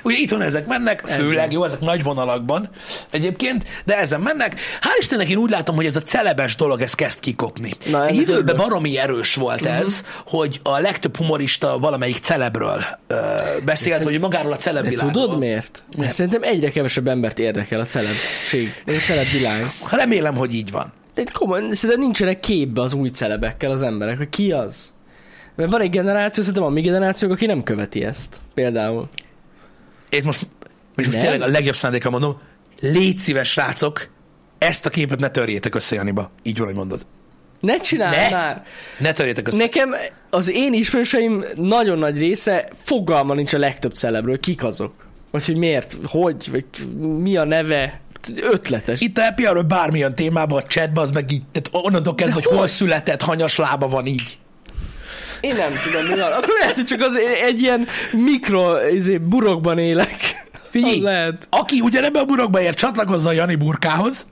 Ugye itthon ezek mennek,
Ez
főleg,
van.
jó, ezek nagy vonalakban egyébként, de ezen mennek. Hál' Istennek én úgy látom, hogy ez a celebes dolog, ez kezd kikopni.
Na,
Na, Egy
ennek
időben
örülök.
baromi erős volt ez,
Mhm.
hogy a legtöbb humorista valamelyik celebről ö, beszélt, hogy magáról a celeb
De
világról.
tudod miért? Mert szerintem egyre kevesebb embert érdekel a celebség, vagy a celebvilág.
Remélem, hogy így van.
De itt komolyan, szerintem nincsenek képbe az új celebekkel az emberek, hogy ki az. Mert van egy generáció, szerintem a mi generációk, aki nem követi ezt. Például.
Én most, és most
Nem?
tényleg a legjobb szándékkal mondom, légy szíves, srácok, ezt a képet ne törjétek össze, Janiba. Így van, hogy mondod.
Ne csináld
Ne!
már!
Ne törjétek össze.
Nekem az én ismerőseim nagyon nagy része fogalma nincs a legtöbb celebről, kik azok. Vagy hogy miért, hogy, vagy mi a neve, ötletes.
Itt a happy hour bármilyen témában, a chatbe, az meg így, tehát onnantól kezdve, hogy hol született, hanyas lába van így.
Én nem tudom, mi van. Akkor lehet, hogy csak az egy ilyen mikro izé, burokban élek.
Figyelj,
Az lehet.
aki ugyanebben a burokba ér, csatlakozza a Jani burkához.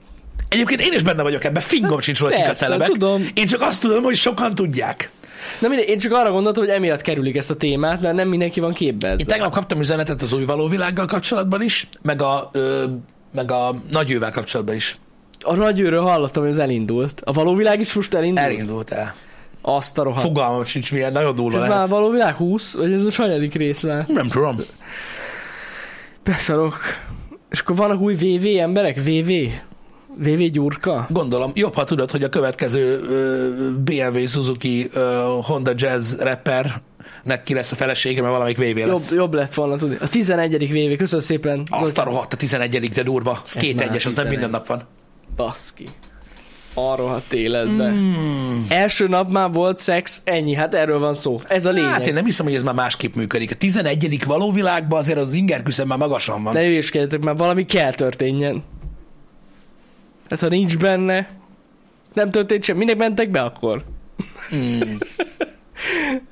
Egyébként én is benne vagyok ebben, fingom sincs róla kik a
Hát persze,
celebek.
tudom.
Én csak azt tudom, hogy sokan tudják.
Na mindegy, én csak arra gondoltam, hogy emiatt kerülik ezt a témát, mert nem mindenki van képbe
Én
ezzel.
tegnap kaptam üzenetet az új való világgal kapcsolatban is, meg a, ö, meg a nagyővel kapcsolatban is.
A nagyőről hallottam, hogy az elindult. A való világ is most elindult?
Elindult el.
Azt a rohadt.
Fogalmam sincs milyen, nagyon durva
És ez
lehet.
már a való világ 20, vagy ez most hanyadik rész már?
Nem tudom.
Beszarok. És akkor vannak új VV emberek? VV? VV Gyurka?
Gondolom, jobb, ha tudod, hogy a következő ö, BMW Suzuki ö, Honda Jazz rappernek ki lesz a felesége, mert valamelyik VV
Jobb,
lesz. Jobb,
jobb lett volna tudni. A 11. VV, köszönöm szépen.
azt
Zoltán.
a rohadt a 11 de durva. Ez
Ez
két
már
egyes, az nem
11.
minden nap van.
Baszki. Arról a életbe. Mm. Első nap már volt szex, ennyi, hát erről van szó. Ez a lényeg.
Hát én nem hiszem, hogy ez már másképp működik. A 11. való világban azért az inger küszöb már magasan van.
Ne hülyéskedjetek már, valami kell történjen. Hát ha nincs benne, nem történt sem, minek mentek be akkor?
Mm.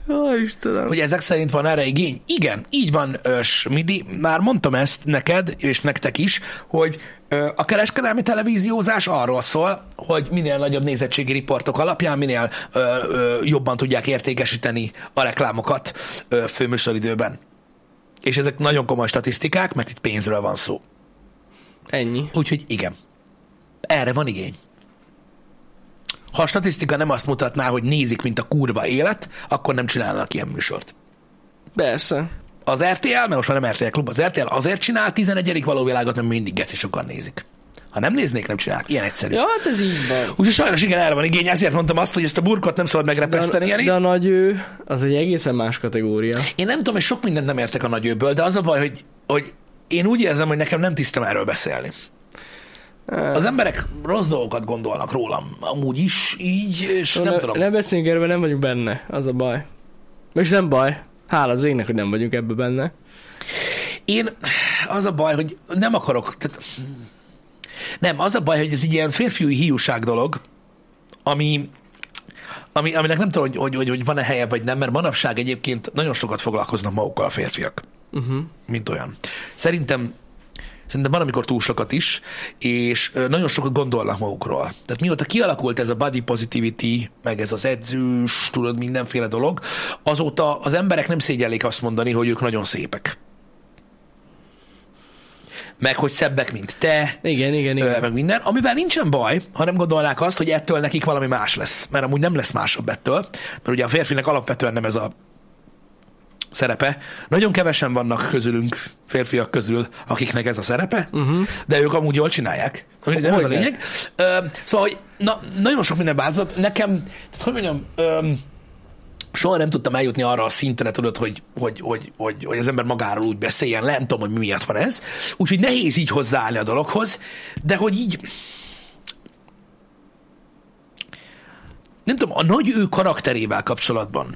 Ó, Istenem.
Hogy ezek szerint van erre igény? Igen, így van, Ös Midi. Már mondtam ezt neked, és nektek is, hogy ö, a kereskedelmi televíziózás arról szól, hogy minél nagyobb nézettségi riportok alapján, minél ö, ö, jobban tudják értékesíteni a reklámokat ö, főműsoridőben. És ezek nagyon komoly statisztikák, mert itt pénzről van szó.
Ennyi.
Úgyhogy igen. Erre van igény. Ha a statisztika nem azt mutatná, hogy nézik, mint a kurva élet, akkor nem csinálnak ilyen műsort.
Persze.
Az RTL, mert most már nem RTL klub, az RTL azért csinál 11. valóvilágot, mert mindig geci sokan nézik. Ha nem néznék, nem csinálják. Ilyen egyszerű.
Ja, hát ez így van.
Úgyhogy sajnos igen, erre van igény, ezért mondtam azt, hogy ezt a burkot nem szabad megrepeszteni,
De a,
Jani.
de a nagy ő, az egy egészen más kategória.
Én nem tudom, és sok mindent nem értek a nagyőből, de az a baj, hogy, hogy én úgy érzem, hogy nekem nem tisztem erről beszélni. Az emberek rossz dolgokat gondolnak rólam, amúgy is így, és
ne,
nem tudom.
Ne beszéljünk erről, mert nem vagyunk benne. Az a baj. És nem baj. Hála az égnek, hogy nem vagyunk ebbe benne.
Én az a baj, hogy nem akarok, tehát, nem, az a baj, hogy ez egy ilyen férfiúi hiúság dolog, ami, ami, aminek nem tudom, hogy, hogy, hogy, hogy van-e helye vagy nem, mert manapság egyébként nagyon sokat foglalkoznak magukkal a férfiak.
Uh-huh.
mint olyan. Szerintem Szerintem van, amikor túl sokat is, és ö, nagyon sokat gondolnak magukról. Tehát mióta kialakult ez a body positivity, meg ez az edzős, tudod, mindenféle dolog, azóta az emberek nem szégyellik azt mondani, hogy ők nagyon szépek. Meg, hogy szebbek, mint te,
Igen, igen, igen.
ö, meg minden, amivel nincsen baj, ha nem gondolnák azt, hogy ettől nekik valami más lesz. Mert amúgy nem lesz másabb ettől, mert ugye a férfinek alapvetően nem ez a szerepe. Nagyon kevesen vannak közülünk, férfiak közül, akiknek ez a szerepe, uh-huh. de ők amúgy jól csinálják. Hogy nem ez a
Hogyne.
lényeg. Ö, szóval, hogy na, nagyon sok minden változott. Nekem, tehát hogy mondjam, ö, soha nem tudtam eljutni arra a szintre, tudod, hogy, hogy, hogy, hogy, hogy az ember magáról úgy beszéljen, le, nem tudom, hogy mi miatt van ez. Úgyhogy nehéz így hozzáállni a dologhoz, de hogy így, nem tudom, a nagy ő karakterével kapcsolatban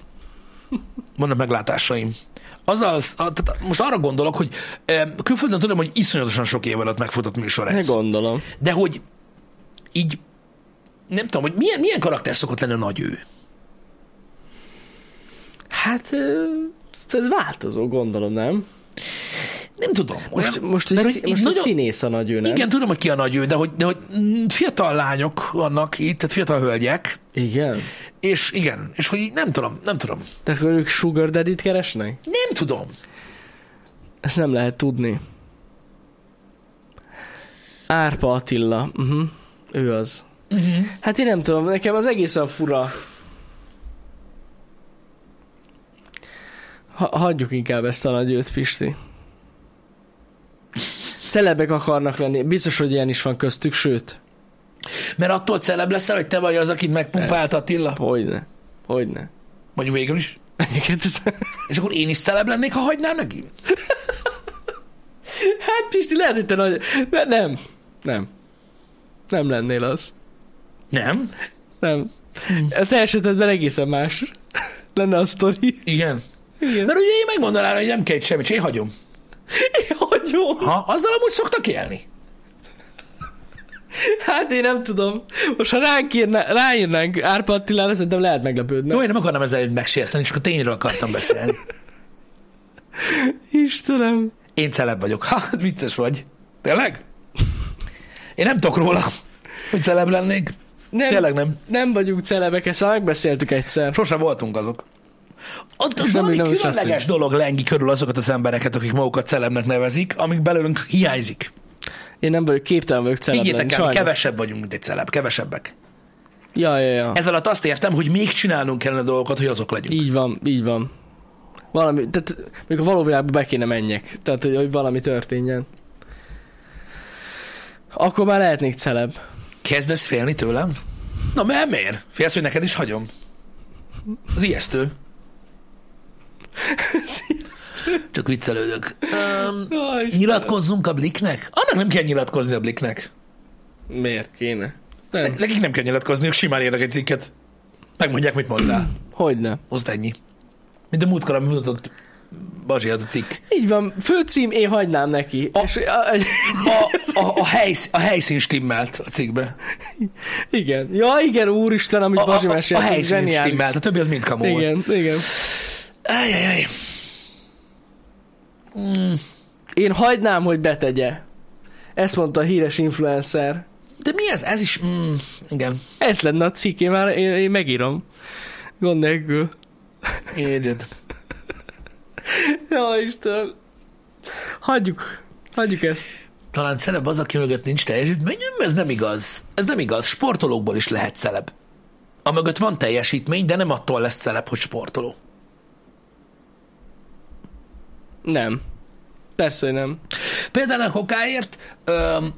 vannak meglátásaim. Azzal, a, tehát most arra gondolok, hogy em, külföldön tudom, hogy iszonyatosan sok év alatt megfutott műsor
Ne
ez.
gondolom.
De hogy így, nem tudom, hogy milyen, milyen karakter szokott lenni a nagy ő.
Hát ö, ez változó, gondolom, nem?
Nem tudom.
Most,
olyan-
most, egy,
mert
szí-
hogy így
most egy színész a nagy ő, nem?
Igen, tudom, hogy ki a nagy ő, de hogy, de hogy mm, fiatal lányok vannak itt, tehát fiatal hölgyek,
Igen.
és igen, és hogy így nem tudom, nem tudom.
De akkor ők sugar daddy keresnek?
Nem tudom.
Ezt nem lehet tudni. Árpa Attila. Uh-huh. Ő az. Uh-huh. Hát én nem tudom, nekem az egészen fura. Ha- hagyjuk inkább ezt a nagyőt, Pisti. Celebek akarnak lenni. Biztos, hogy ilyen is van köztük, sőt.
Mert attól celebb leszel, hogy te vagy az, akit megpumpált
Persze.
Attila.
Hogyne. Hogyne.
Mondjuk végül is.
Igen, ez-
És akkor én is celebb lennék, ha hagynám neki?
hát Pisti, lehet, hogy te nagy... De nem. Nem. Nem lennél az.
Nem.
Nem. A te esetedben egészen más lenne a sztori.
Igen.
Igen.
Mert ugye én megmondanám, hogy nem kell itt semmit, és én hagyom.
Hogy jó?
Ha, azzal amúgy szoktak élni.
Hát én nem tudom. Most ha ránk írná, ráírnánk Árpa Attilára, szerintem lehet meglepődni.
Jó, én nem akarnam ezzel megsérteni, csak a tényről akartam beszélni.
Istenem.
Én celeb vagyok. Ha, hát vicces vagy. Tényleg? Én nem tudok róla, hogy celeb lennék.
Nem,
Tényleg nem.
nem vagyunk celebek, ezt már megbeszéltük egyszer.
Sose voltunk azok. Ott
És
ott valami
nem- nem
nem
is
különleges
leszünk.
dolog lengi körül azokat az embereket, akik magukat celebnek nevezik, amik belőlünk hiányzik.
Én nem vagyok, képtelen vagyok celeb lenni,
Higgyétek el, mi
sajnos.
kevesebb vagyunk, mint egy celeb, kevesebbek.
Ja, ja, ja.
Ez alatt azt értem, hogy még csinálnunk kellene dolgokat, hogy azok legyünk.
Így van, így van. Valami, tehát még a való világba be kéne menjek. Tehát, hogy, hogy valami történjen. Akkor már lehetnék celeb.
Kezdesz félni tőlem? Na, mert miért? Félsz, hogy neked is hagyom? Az ijesztő. Csak viccelődök. Um,
Jaj, Istenem.
nyilatkozzunk a Bliknek? Annak nem kell nyilatkozni a Bliknek.
Miért kéne? Nem.
Nekik nem kell nyilatkozni, ők simán írnak egy cikket. Megmondják, mit mond rá.
Hogyne.
Azt ennyi. Mint a múltkor, amit mutatott Bazsi, az a cikk.
Így van, főcím, én hagynám neki. A... És, a, a,
A, a, a, helysz, a helyszín stimmelt a cikkbe.
igen. Ja, igen, úristen, amit
A,
Bazsi
a, a, a
mesélt. ez
helyszín
zseniális.
stimmelt, a többi az mind kamu volt.
Igen, igen.
Ajajaj.
Én hagynám, hogy betegye. Ezt mondta a híres influencer.
De mi ez? Ez is... Mm, igen.
Ez lenne a cikk, én már én, én megírom. Gond nélkül.
Érted.
Ja, Istenem. Hagyjuk. Hagyjuk ezt.
Talán celeb az, aki mögött nincs teljesítmény. Nem, ez nem igaz. Ez nem igaz. Sportolókból is lehet celeb. A mögött van teljesítmény, de nem attól lesz celeb, hogy sportoló.
Nem. Persze, hogy nem.
Például a kokáért öm,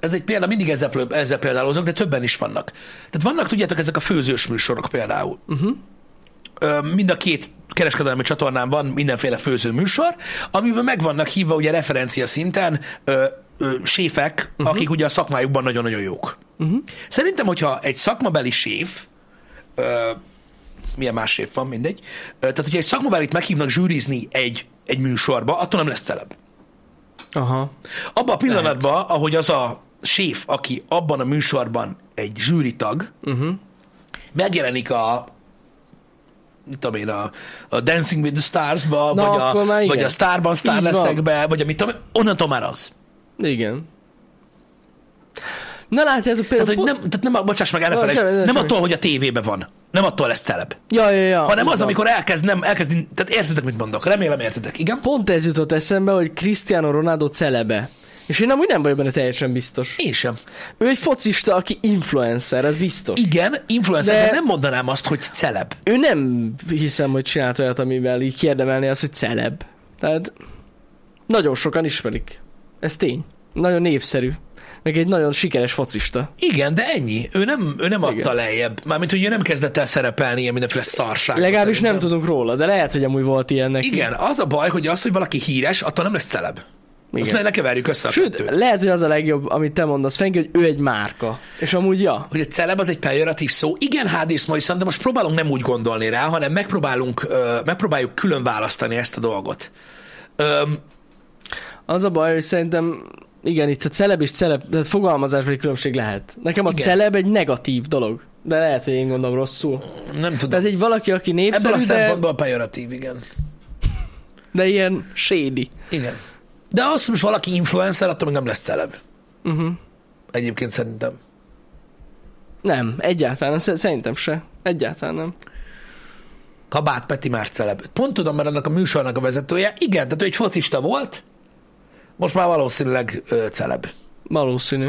ez egy példa, mindig ezzel, plö- ezzel példálozok, de többen is vannak. Tehát vannak, tudjátok, ezek a főzős műsorok például. Uh-huh. Ö, mind a két kereskedelmi csatornán van mindenféle főző műsor, amiben meg vannak hívva ugye referencia szinten ö, ö, séfek, uh-huh. akik ugye a szakmájukban nagyon-nagyon jók. Uh-huh. Szerintem, hogyha egy szakmabeli séf, ö, milyen más séf van, mindegy, ö, tehát hogyha egy szakmabelit meghívnak zsűrizni egy, egy műsorba, attól nem lesz celeb.
Aha.
Abban a pillanatban, Lehet. ahogy az a séf, aki abban a műsorban egy zsűritag,
Mhm.
uh-huh. megjelenik a mit tudom én, a, a Dancing with the Stars-ba,
Na,
vagy,
akkor
a,
már igen.
vagy a Starban Star
Így van.
leszekbe, vagy a mit tudom, én, onnantól már az.
Igen. Na látjátok például...
Tehát, hogy nem, tehát nem, a- bocsáss meg, elfelejtsd,
semmi,
nem
semmi.
attól, hogy a tévébe van, nem attól lesz celeb,
Ja, ja, ja.
hanem
így
az,
van.
amikor elkezd, nem, elkezd, tehát értitek, mit mondok, remélem értitek, igen?
Pont ez jutott eszembe, hogy Cristiano Ronaldo celebe. És én amúgy nem vagyok benne teljesen biztos.
Én sem.
Ő egy focista, aki influencer, ez biztos.
Igen, influencer, de
De-
nem mondanám azt, hogy celeb.
Ő nem hiszem, hogy csinált olyat, amivel így kiérdemelné azt, hogy celeb. Tehát nagyon sokan ismerik. Ez tény. Nagyon népszerű. Meg egy nagyon sikeres focista.
Igen, de ennyi. Ő nem, ő nem adta
Igen.
lejjebb. Mármint, hogy ő nem kezdett el szerepelni ilyen mindenféle szarság.
Legalábbis nem tudunk róla, de lehet, hogy amúgy volt ilyen neki.
Igen, az a baj, hogy az, hogy valaki híres, attól nem lesz celeb. Azt
Igen.
ne, ne keverjük össze a
Sőt,
kettőt.
lehet, hogy az a legjobb, amit te mondasz, Fenki, hogy ő egy márka. És amúgy ja.
hogy a celeb az egy pejoratív szó. Igen, hádész ma de most próbálunk nem úgy gondolni rá, hanem megpróbálunk, ö, megpróbáljuk külön választani ezt a dolgot. Öm,
Az a baj, hogy szerintem igen, itt a celeb és celeb, tehát fogalmazásbeli különbség lehet. Nekem a
Igen.
igen. celeb egy negatív dolog, de lehet, hogy én gondolom rosszul.
nem tudom.
Tehát egy valaki, aki
Ebből
népszerű,
a
de,
szempontból pejoratív, igen.
de ilyen shady.
Igen. De az, hogy most valaki influencer, attól még nem lesz celeb. Mhm.
Uh-huh.
Egyébként szerintem.
Nem, egyáltalán nem, Szer- szerintem se. Egyáltalán nem.
Kabát Peti már celeb. Pont tudom, mert annak a műsornak a vezetője. Igen, tehát ő egy focista volt, most már valószínűleg ö, celeb.
Valószínű.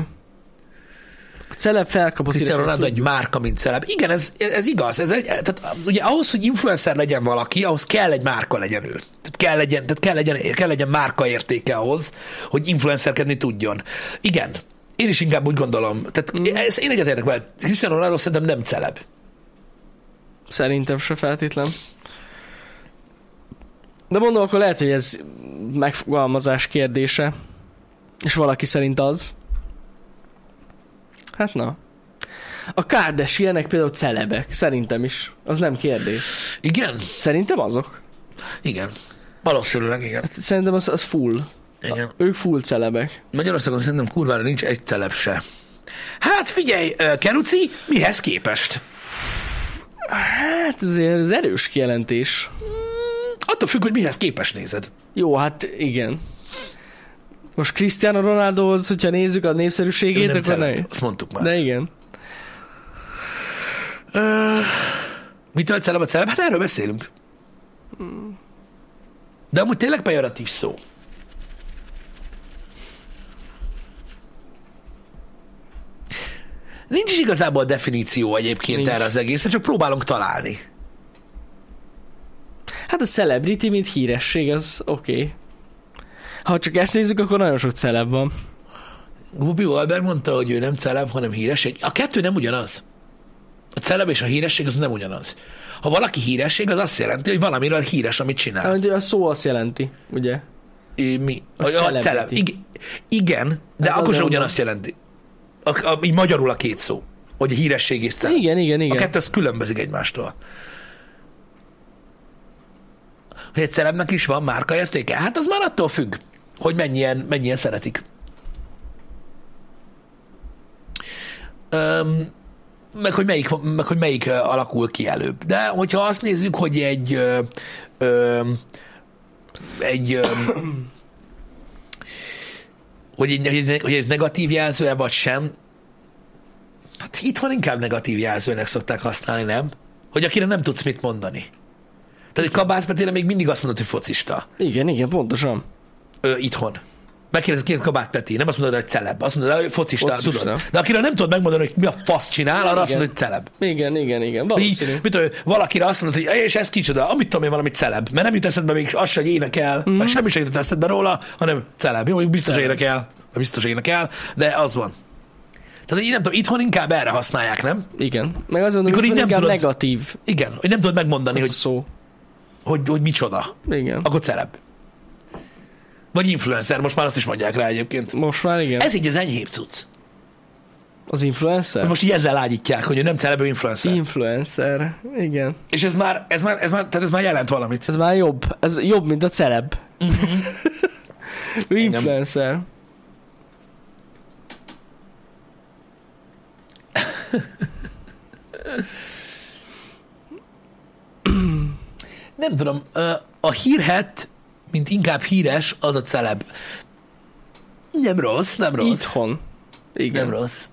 A celeb felkapott
Cristiano
híreket
Ronaldo egy márka, mint celeb. Igen, ez, ez igaz. Ez egy, tehát ugye ahhoz, hogy influencer legyen valaki, ahhoz kell egy márka legyen ő. Tehát kell legyen, tehát kell legyen, kell legyen márka értéke ahhoz, hogy influencerkedni tudjon. Igen, én is inkább úgy gondolom. Tehát mm. ez, én egyetértek vele. Cristiano Ronaldo szerintem nem celeb.
tud- Szerintem se feltétlen. De mondom, akkor lehet, hogy ez megfogalmazás kérdése. És valaki szerint az. Hát na. A Kardashianek például celebek, szerintem is. Az nem kérdés.
Igen?
Szerintem azok.
Igen. Valószínűleg igen.
Hát Szerintem az, az full.
igen.
Ők full celebek.
Magyarországon szerintem kurvára nincs egy celeb se. Hát figyelj, ö, Keruci, mihez képest?
Hát azért ez erős kijelentés.
Attól függ, hogy mihez képest nézed.
Jó, hát igen. Most Cristiano Ronaldohoz, hogyha nézzük a
Ő
népszerűségét,
nem
akkor
celeb,
nem.
azt mondtuk már.
De igen.
Mitől celeb a celeb? Hát erről beszélünk. De amúgy tényleg pejoratív szó. Nincs is igazából definíció egyébként Nincs.
Nincs.
erre az egészre, csak próbálunk találni.
Hát a celebrity, mint híresség, az oké. Okay. Ha csak ezt nézzük, akkor nagyon sok celeb van.
Gubi Wahlberg mondta, hogy ő nem celeb, hanem híresség. A kettő nem ugyanaz. A celeb és a híresség az nem ugyanaz. Ha valaki híresség, az azt jelenti, hogy valamiről híres, amit csinál.
Hát, ugye A szó azt jelenti, ugye?
Ö, mi? A,
A
a
celebrity.
celeb. Igen, igen de
Hát
hát akkor
azért
sem
mondom.
ugyanazt jelenti. A, a, így magyarul a két szó. Hogy híresség és celeb.
Igen, igen, igen.
A kettő az különbözik egymástól. Hogy egy celebnek is van márka értéke? Hát az már attól függ, hogy mennyien, mennyien szeretik. Öm, meg hogy melyik, meg hogy melyik ö, alakul ki előbb. De hogyha azt nézzük, hogy egy ö, ö, egy ö, hogy, egy- hogy, ez- hogy ez negatív jelző-e vagy sem, hát itthon inkább negatív jelzőnek szokták használni, nem? Hogy akire nem tudsz mit mondani. Tehát egy kabát Petére még mindig azt mondod, hogy focista.
Igen, igen, pontosan.
Ö, itthon. Megkérdezed ki Kabát Peti, nem azt mondod, hogy celeb, azt mondod, hogy focista,
Focista.
tudod. De akire nem tudod megmondani, hogy mi a fasz csinál, arra azt
Igen.
mondod, hogy celeb.
Igen, igen, igen,
Így,
valószínű.
mit tudom, valakire azt mondod, hogy és ez kicsoda, amit tudom én, valami celeb,
Mhm.
mert nem jut eszedbe még az, se, hogy énekel, mm. meg semmi sem jutott eszedbe róla, hanem celeb. Jó, mondjuk biztos celeb. énekel. de biztos énekel, de az van. Tehát én nem tudom, itthon inkább erre használják, nem?
Igen. Meg azt gondolom,
Mikor
hogy
így
nem
nem
inkább
tudod-
negatív
Igen, hogy nem tudod megmondani,
az a
hogy,
szó.
hogy, hogy micsoda.
Igen.
Akkor celeb. Vagy influencer, most már azt is mondják rá egyébként.
Most már igen.
Ez így az enyhébb cucc.
Az influencer?
Hogy most így ezzel ágyítják, hogy ő nem celeb, ő influencer.
Influencer, igen.
És ez már, ez már, ez már, tehát ez már jelent valamit.
Ez már jobb. Ez jobb, mint a celeb.
Mhm.
Ő
Igen.
influencer.
Nem tudom, ö, a hírhet, mint inkább híres, az a celeb. Nem rossz, nem rossz.
Itthon. Igen.
Nem rossz.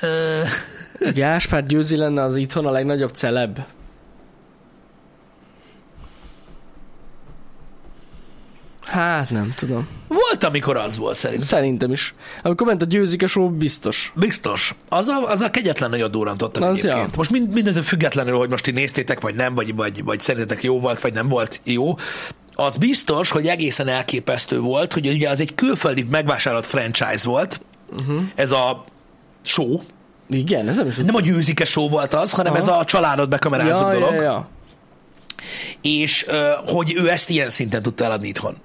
Ö,
Gáspár Győzi lenne az itthon a legnagyobb celeb. Hát nem tudom.
volt, amikor az volt szerintem.
Szerintem is. Amikor ment a Győzik a show, biztos.
Biztos. Az a, az a kegyetlen nagyot durrantottak
Az
az egyébként.
ja.
Most mind, mindentől függetlenül, hogy most ti néztétek, vagy nem, vagy, vagy, vagy szerintetek jó volt, vagy nem volt jó, az biztos, hogy egészen elképesztő volt, hogy ugye az egy külföldi megvásárolt franchise volt,
Mhm.
uh-huh. ez a show,
Igen, ez nem is
nem a győzike show volt az, hanem
Aha.
ez a családot bekamerázó
ja,
dolog,
ja, ja.
és ö, hogy ő ezt ilyen szinten tudta eladni itthon.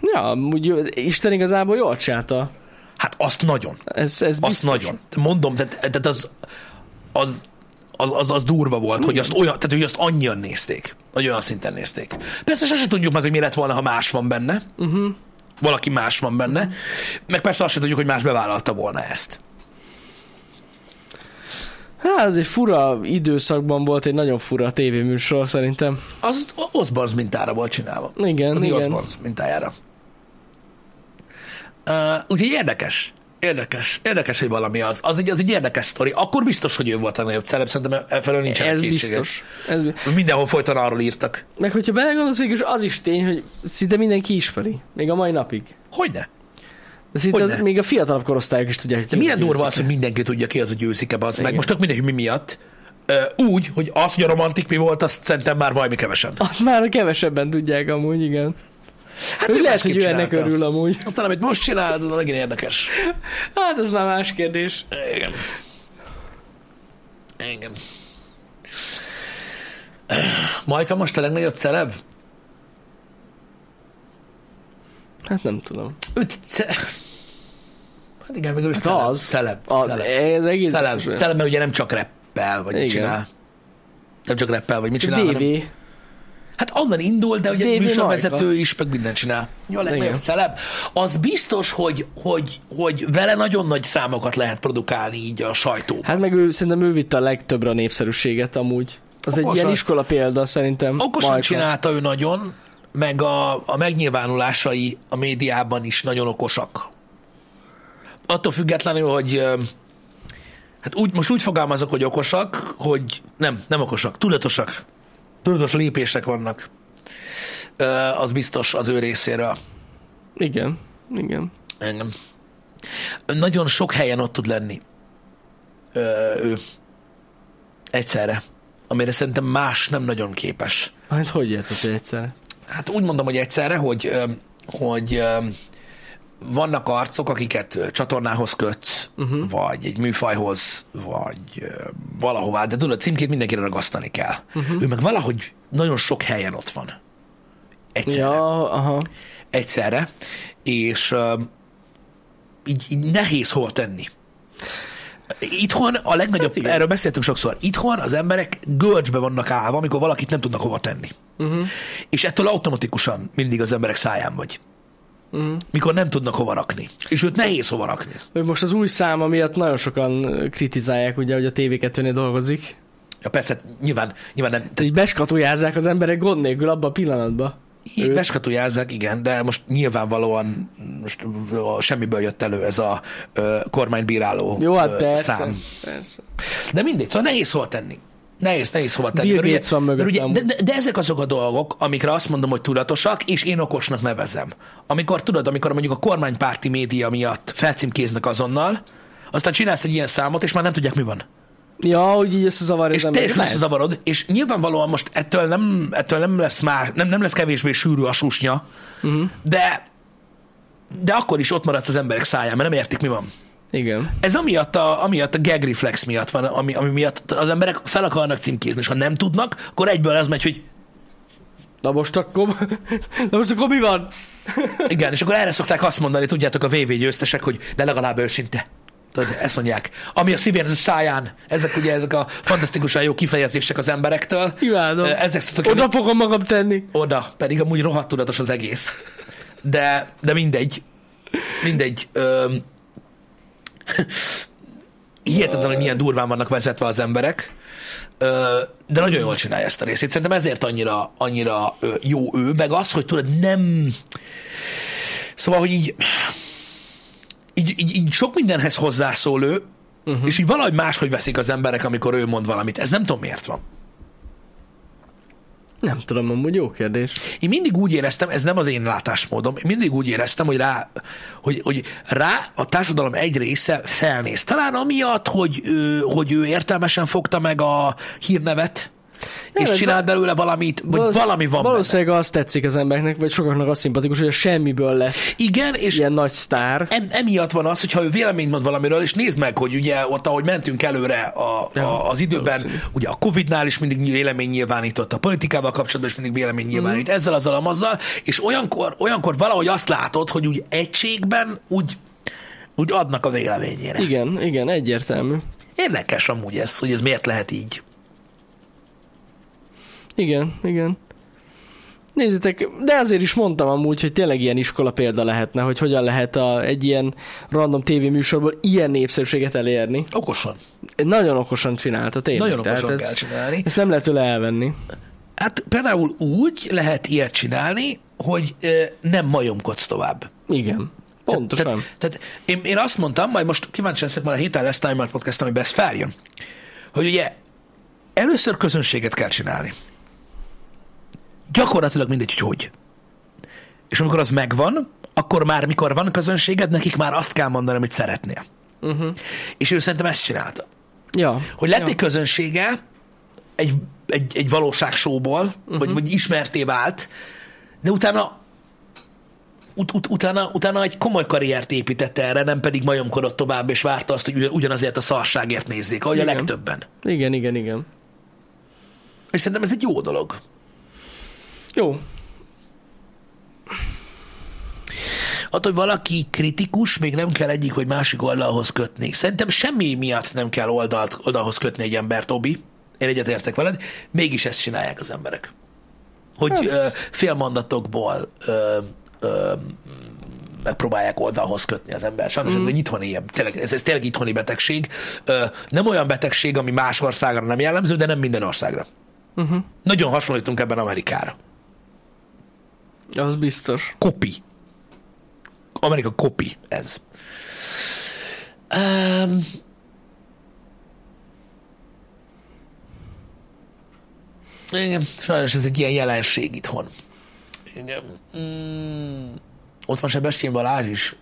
ja, amúgy jó- Isten igazából jól csinálta.
Hát azt nagyon.
Ez, ez
Azt
biztos.
nagyon. Mondom, tehát, tehát az, az, az, az, az durva volt, hogy azt, olyan, tehát, hogy azt annyian nézték, hogy olyan szinten nézték. Persze sose tudjuk meg, hogy mi lett volna, ha más van benne. Uh-huh.
Mhm.
Valaki más van benne. Uh-huh. Meg persze azt sem tudjuk, hogy más bevállalta volna ezt.
Hát ez egy fura időszakban volt egy nagyon fura tévéműsor szerintem.
Az Osborns mintára volt csinálva.
Igen,
A The
igen.
Osborns mintájára. Uh, úgyhogy érdekes. Érdekes. Érdekes, hogy valami az. Az egy, az egy érdekes sztori. Akkor biztos, hogy ő volt a nagyobb szerep, szerintem e- e felől nincsen
ez
kétségek.
biztos. Ez, bi-
Mindenhol folyton arról írtak.
meg hogyha belegondolsz, végül is az is tény, hogy szinte mindenki ismeri. Még a mai napig.
Hogyne?
De szinte az,
Hogyne.
még a fiatalabb korosztályok is tudják.
De milyen durva az, hogy mindenki tudja ki az a győzike, az meg.
Igen.
Most tök mindegy, hogy mi miatt. Ö, Úgy, hogy az, hogy a romantik mi volt, azt szerintem már valami kevesen.
Azt már kevesebben tudják amúgy, igen. Hát
ő
ő lehet, hogy
másképp
ő ennek
csinálta.
örül amúgy.
Aztán, amit most csinál, az megint érdekes.
Hát ez már más kérdés.
Igen. Igen. Majka most a legnagyobb celeb?
Hát nem tudom.
Öt ce... Hát igen, végül is
Hát
celeb.
az.
Celeb.
A,
celeb.
ez egész
Celeb,
biztos olyan.
celeb, mert ugye nem csak rappel, vagy
Igen.
mit csinál. Nem csak rappel, vagy mit csinál, hanem...
DV.
Hát onnan indul, de ugye
DV
műsorvezető
Majka.
is, meg mindent csinál. Jó,
Igen.
legnagyobb celeb. Az biztos, hogy, hogy, hogy vele nagyon nagy számokat lehet produkálni így a sajtó.
Hát meg ő, szerintem ő vitte a legtöbbre a népszerűséget amúgy. Az egy
Okosan.
ilyen iskola példa szerintem.
Okosan
Majka.
csinálta ő nagyon, meg a, a megnyilvánulásai a médiában is nagyon okosak. Attól függetlenül, hogy ö, hát úgy, most úgy fogalmazok, hogy okosak, hogy nem, nem okosak, tudatosak. Tudatos lépések vannak. Ö, Az biztos az ő részéről.
Igen. Igen.
Engem. Nagyon sok helyen ott tud lenni. Ö, ő. Egyszerre. Amire szerintem más nem nagyon képes.
Hát hogy érted egyszer?
Hát úgy mondom, hogy egyszerre, hogy, ö, hogy ö, vannak arcok, akiket ö, csatornához kötsz, uh-huh. vagy egy műfajhoz, vagy ö, valahová, de tudod, a címkét mindenkire ragasztani kell. Uh-huh. Ő meg valahogy nagyon sok helyen ott van. Egyszerre
Ja, aha.
egyszerre, és uh, így, így nehéz hova tenni. Itthon a legnagyobb,
Hát
hát
igen.
erről beszéltünk sokszor, itthon az emberek görcsbe vannak állva, amikor valakit nem tudnak hova tenni.
Mhm,
Uh-huh. És ettől automatikusan mindig az emberek száján vagy.
mhm.
Uh-huh. Mikor nem tudnak hova rakni. És őt nehéz hova rakni.
Ő most az új száma miatt nagyon sokan ö, kritizálják, ugye, hogy a TV2-nél dolgozik.
Ja, persze, hát nyilván, nyilván nem,
Tehát így beskatujázzák az emberek gond nélkül abba a pillanatba.
Így beskatujázzák, igen, de most nyilvánvalóan most a semmiből jött elő ez a ö, kormánybíráló
Jó, hát
ö,
persze.
szám.
persze.
De mindegy, szóval nehéz hova tenni. Nehéz, nehéz hova tenni.
Bill
Mert ugye-
Gates van
mert ugye,
mögöttem.
de, de, de ezek azok a dolgok, amikre azt mondom, hogy tudatosak, és én okosnak nevezem. Amikor tudod, amikor mondjuk a kormánypárti média miatt felcímkéznek azonnal, aztán csinálsz egy ilyen számot, és már nem tudják, mi van.
Ja, hogy így összezavarja
És
az embert.
teljesen
Lehet.
összezavarod, és nyilvánvalóan most ettől nem, ettől nem lesz már, nem, nem lesz kevésbé sűrű a susnya,
Mhm.
uh-huh. de, de akkor is ott maradsz az emberek száján, mert nem értik, mi van.
Igen.
Ez amiatt a, amiatt a gag reflex miatt van, ami, ami miatt az emberek fel akarnak címkézni, és ha nem tudnak, akkor egyből az megy, hogy
Na most akkor, na most akkor mi van?
igen, és akkor erre szokták azt mondani, tudjátok, a VV győztesek, hogy de legalább őszinte. Tudod, ezt mondják. Ami a szívért a száján, ezek ugye ezek a fantasztikusan jó kifejezések az emberektől.
Imádom.
Ezek szoktak
Oda fogom magam tenni.
oda, pedig amúgy rohadt tudatos az egész. De, de mindegy. Mindegy. Öm, hihetetlen, hogy milyen durván vannak vezetve az emberek, Ö, de nagyon jól csinálja ezt a részét. Szerintem ezért annyira, annyira ö, jó ő, meg az, hogy tudod, nem... Szóval, hogy így, így, így, így sok mindenhez hozzászól ő, uh-huh. és így valahogy máshogy veszik az emberek, amikor ő mond valamit. Ez nem tudom, miért van.
Nem tudom, amúgy jó kérdés.
Én mindig úgy éreztem, ez nem az én látásmódom, én mindig úgy éreztem, hogy rá, hogy, hogy rá a társadalom egy része felnéz. Talán amiatt, hogy, ő, hogy ő értelmesen fogta meg a hírnevet,
Nem,
nem, és
ez
csinált belőle valamit, vagy valami van benne.
Valószínűleg azt tetszik az embernek, vagy sokaknak az szimpatikus, hogy a semmiből lett
Igen, és
ilyen nagy sztár.
em, emiatt van az, hogyha ő véleményt mond valamiről, és nézd meg, hogy ugye ott, ahogy mentünk előre a,
Ja,
a, az időben,
valószínű.
ugye a Covid-nál is mindig vélemény nyilvánított, a politikával kapcsolatban is mindig vélemény nyilvánít, mm. ezzel, azzal, amazzal, és olyankor, olyankor valahogy azt látod, hogy úgy egységben úgy, úgy adnak a véleményére. Igen.
Igen, igen, egyértelmű.
Érdekes amúgy ez, hogy ez miért lehet így.
Igen, igen. Nézzétek, de azért is mondtam amúgy, hogy tényleg ilyen iskola példa lehetne, hogy hogyan lehet a, egy ilyen random tévéműsorból ilyen népszerűséget elérni.
Okosan.
Nagyon okosan csinálta, tényleg.
Nagyon
Tehát
okosan
ez,
kell csinálni.
Ezt nem lehet tőle elvenni.
Hát például úgy lehet ilyet csinálni, hogy ö, nem majomkodsz tovább.
Igen. Pontosan.
Tehát, tehát én, én azt mondtam, majd most kíváncsi leszek már a héten lesz Time Out Podcast, amiben ez feljön, hogy ugye először közönséget kell csinálni. Gyakorlatilag mindegy, hogy hogy. És amikor az megvan, akkor már mikor van közönséged, nekik már azt kell mondani, amit szeretnél. Mhm.
uh-huh.
És ő szerintem ezt csinálta.
Ja.
Hogy lett
ja.
egy közönsége egy, egy, egy valóságsóból, uh-huh.
Mhm.
vagy, vagy ismerté vált, de utána ut, ut, utána, utána egy komoly karriert épített erre, nem pedig majomkodott tovább, és várta azt, hogy ugyan- ugyanazért a szarságért nézzék, ahogy a
Igen.
legtöbben.
Igen, igen, igen.
És szerintem ez egy jó dolog.
Jó.
Attól, hogy valaki kritikus, még nem kell egyik vagy másik oldalhoz kötni. Szerintem semmi miatt nem kell oldalt, oldalhoz kötni egy embert, Obi. Én egyetértek veled. Mégis ezt csinálják az emberek. Hogy
Ez-
ö, félmondatokból ö, ö, megpróbálják oldalhoz kötni az ember. Sajnos mm. ez egy itthoni ilyen, tényleg, ez, ez tényleg itthoni betegség. Ö, nem olyan betegség, ami más országra nem jellemző, de nem minden országra.
Uh-huh.
Nagyon hasonlítunk ebben Amerikára.
Az biztos.
kopi. Amerika kopi ez. Um, igen, sajnos ez egy ilyen jelenség itthon. Igen. Mm, ott van Sebestyén Balázs is.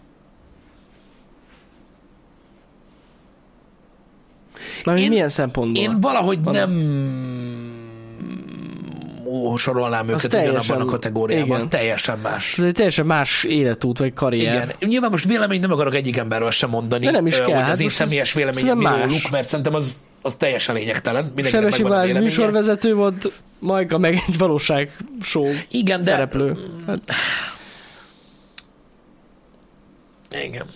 Na, én,
Én-
milyen szempontból?
Én valahogy
Van-e?
nem ó, sorolnám őket ugyanabban
teljesen-
a kategóriában,
igen.
az teljesen más.
Ez egy teljesen más életút, vagy karrier.
Igen. Nyilván most véleményt nem akarok egyik emberről sem mondani,
De nem is
ö,
kell.
hogy
Hát
az én
most ez
személyes véleményem mi
szerintem más.
róluk, mert szerintem az, az teljesen lényegtelen. Mindenkinek
Sebesi
megvan a
Balázs
véleménye.
műsorvezető volt, Majka meg egy valóság show
Igen, de...
szereplő. Hát,
Igen.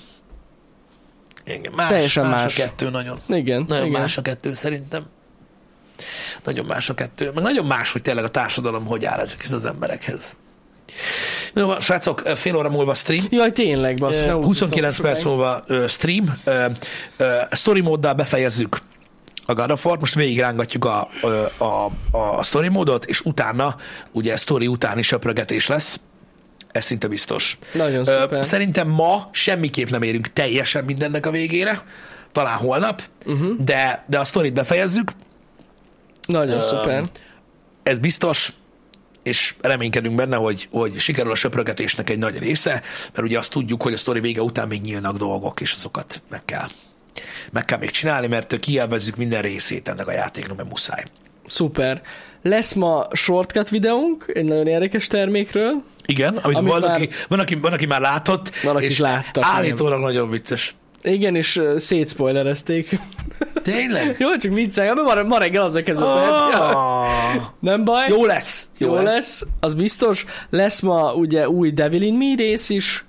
Igen, más,
Teljesen
más,
más.
a kettő nagyon.
igen,
Nagyon
igen.
más a kettő szerintem. Nagyon más a kettő. Meg nagyon más, hogy tényleg a társadalom hogy áll ezekhez az emberekhez. Jó, van, srácok, fél óra múlva stream.
Jaj, tényleg, basszus.
Ö,
nem úgy
29
tudtam
perc
sokáig.
múlva ö, stream. Ö, ö, Story móddal befejezzük a God of War-t. most végigrángatjuk a, ö, a, a story módot, és utána, ugye story utáni söprögetés lesz. Ez szinte biztos.
Nagyon szuper.
szerintem ma semmiképp nem érünk teljesen mindennek a végére, talán holnap,
Mhm.
uh-huh. de, de a sztorit befejezzük,
Nagyon
Öm,
szuper.
ez biztos, és reménykedünk benne, hogy, hogy sikerül a söprögetésnek egy nagy része, mert ugye azt tudjuk, hogy a sztori vége után még nyílnak dolgok, és azokat meg kell Meg kell még csinálni, mert kielvezzük minden részét ennek a játéknak, mert muszáj.
Szuper. Lesz ma shortcut videónk, egy nagyon érdekes termékről.
Igen, amit,
Amit
amit van,
már-
már... aki, van, aki, van, aki már látott,
Van, akik
és
láttak,
állítólag nagyon vicces.
Igen, és ö, szétspoilerezték.
Tényleg?
Jó, csak viccel, mert ma, ma reggel azzal kezdődött. Ja.
Ah,
Nem baj.
jó lesz.
Jó, lesz. lesz, az biztos. Lesz ma ugye új Devil in Me rész is,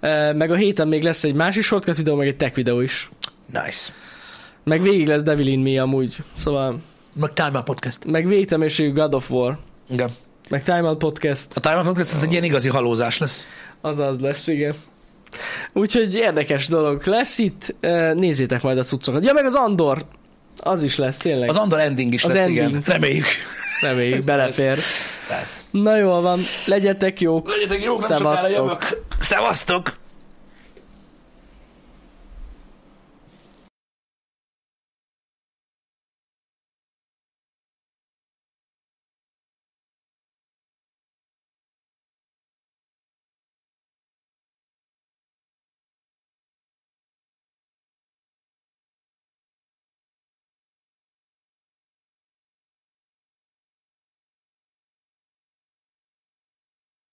eh, meg a héten még lesz egy másik shortcut videó, meg egy tech videó is.
Nice.
Meg végig lesz Devil in Me amúgy, szóval,
Meg Time Out Podcast.
meg végtelenségű God of War,
Igen.
meg Time Out Podcast,
A Time Out Podcast az egy ilyen igazi halózás lesz.
az az lesz, igen. Úgyhogy érdekes dolog lesz itt, eh, nézzétek majd a cuccokat. Ja, meg az Andor, az is lesz, tényleg.
Az Andor Ending is
Az
lesz,
ending.
igen. Reméljük.
Reméljük, belefér.
Lesz.
Na jól van, legyetek jók.
Legyetek jók,
Szevasztok.
Szevasztok.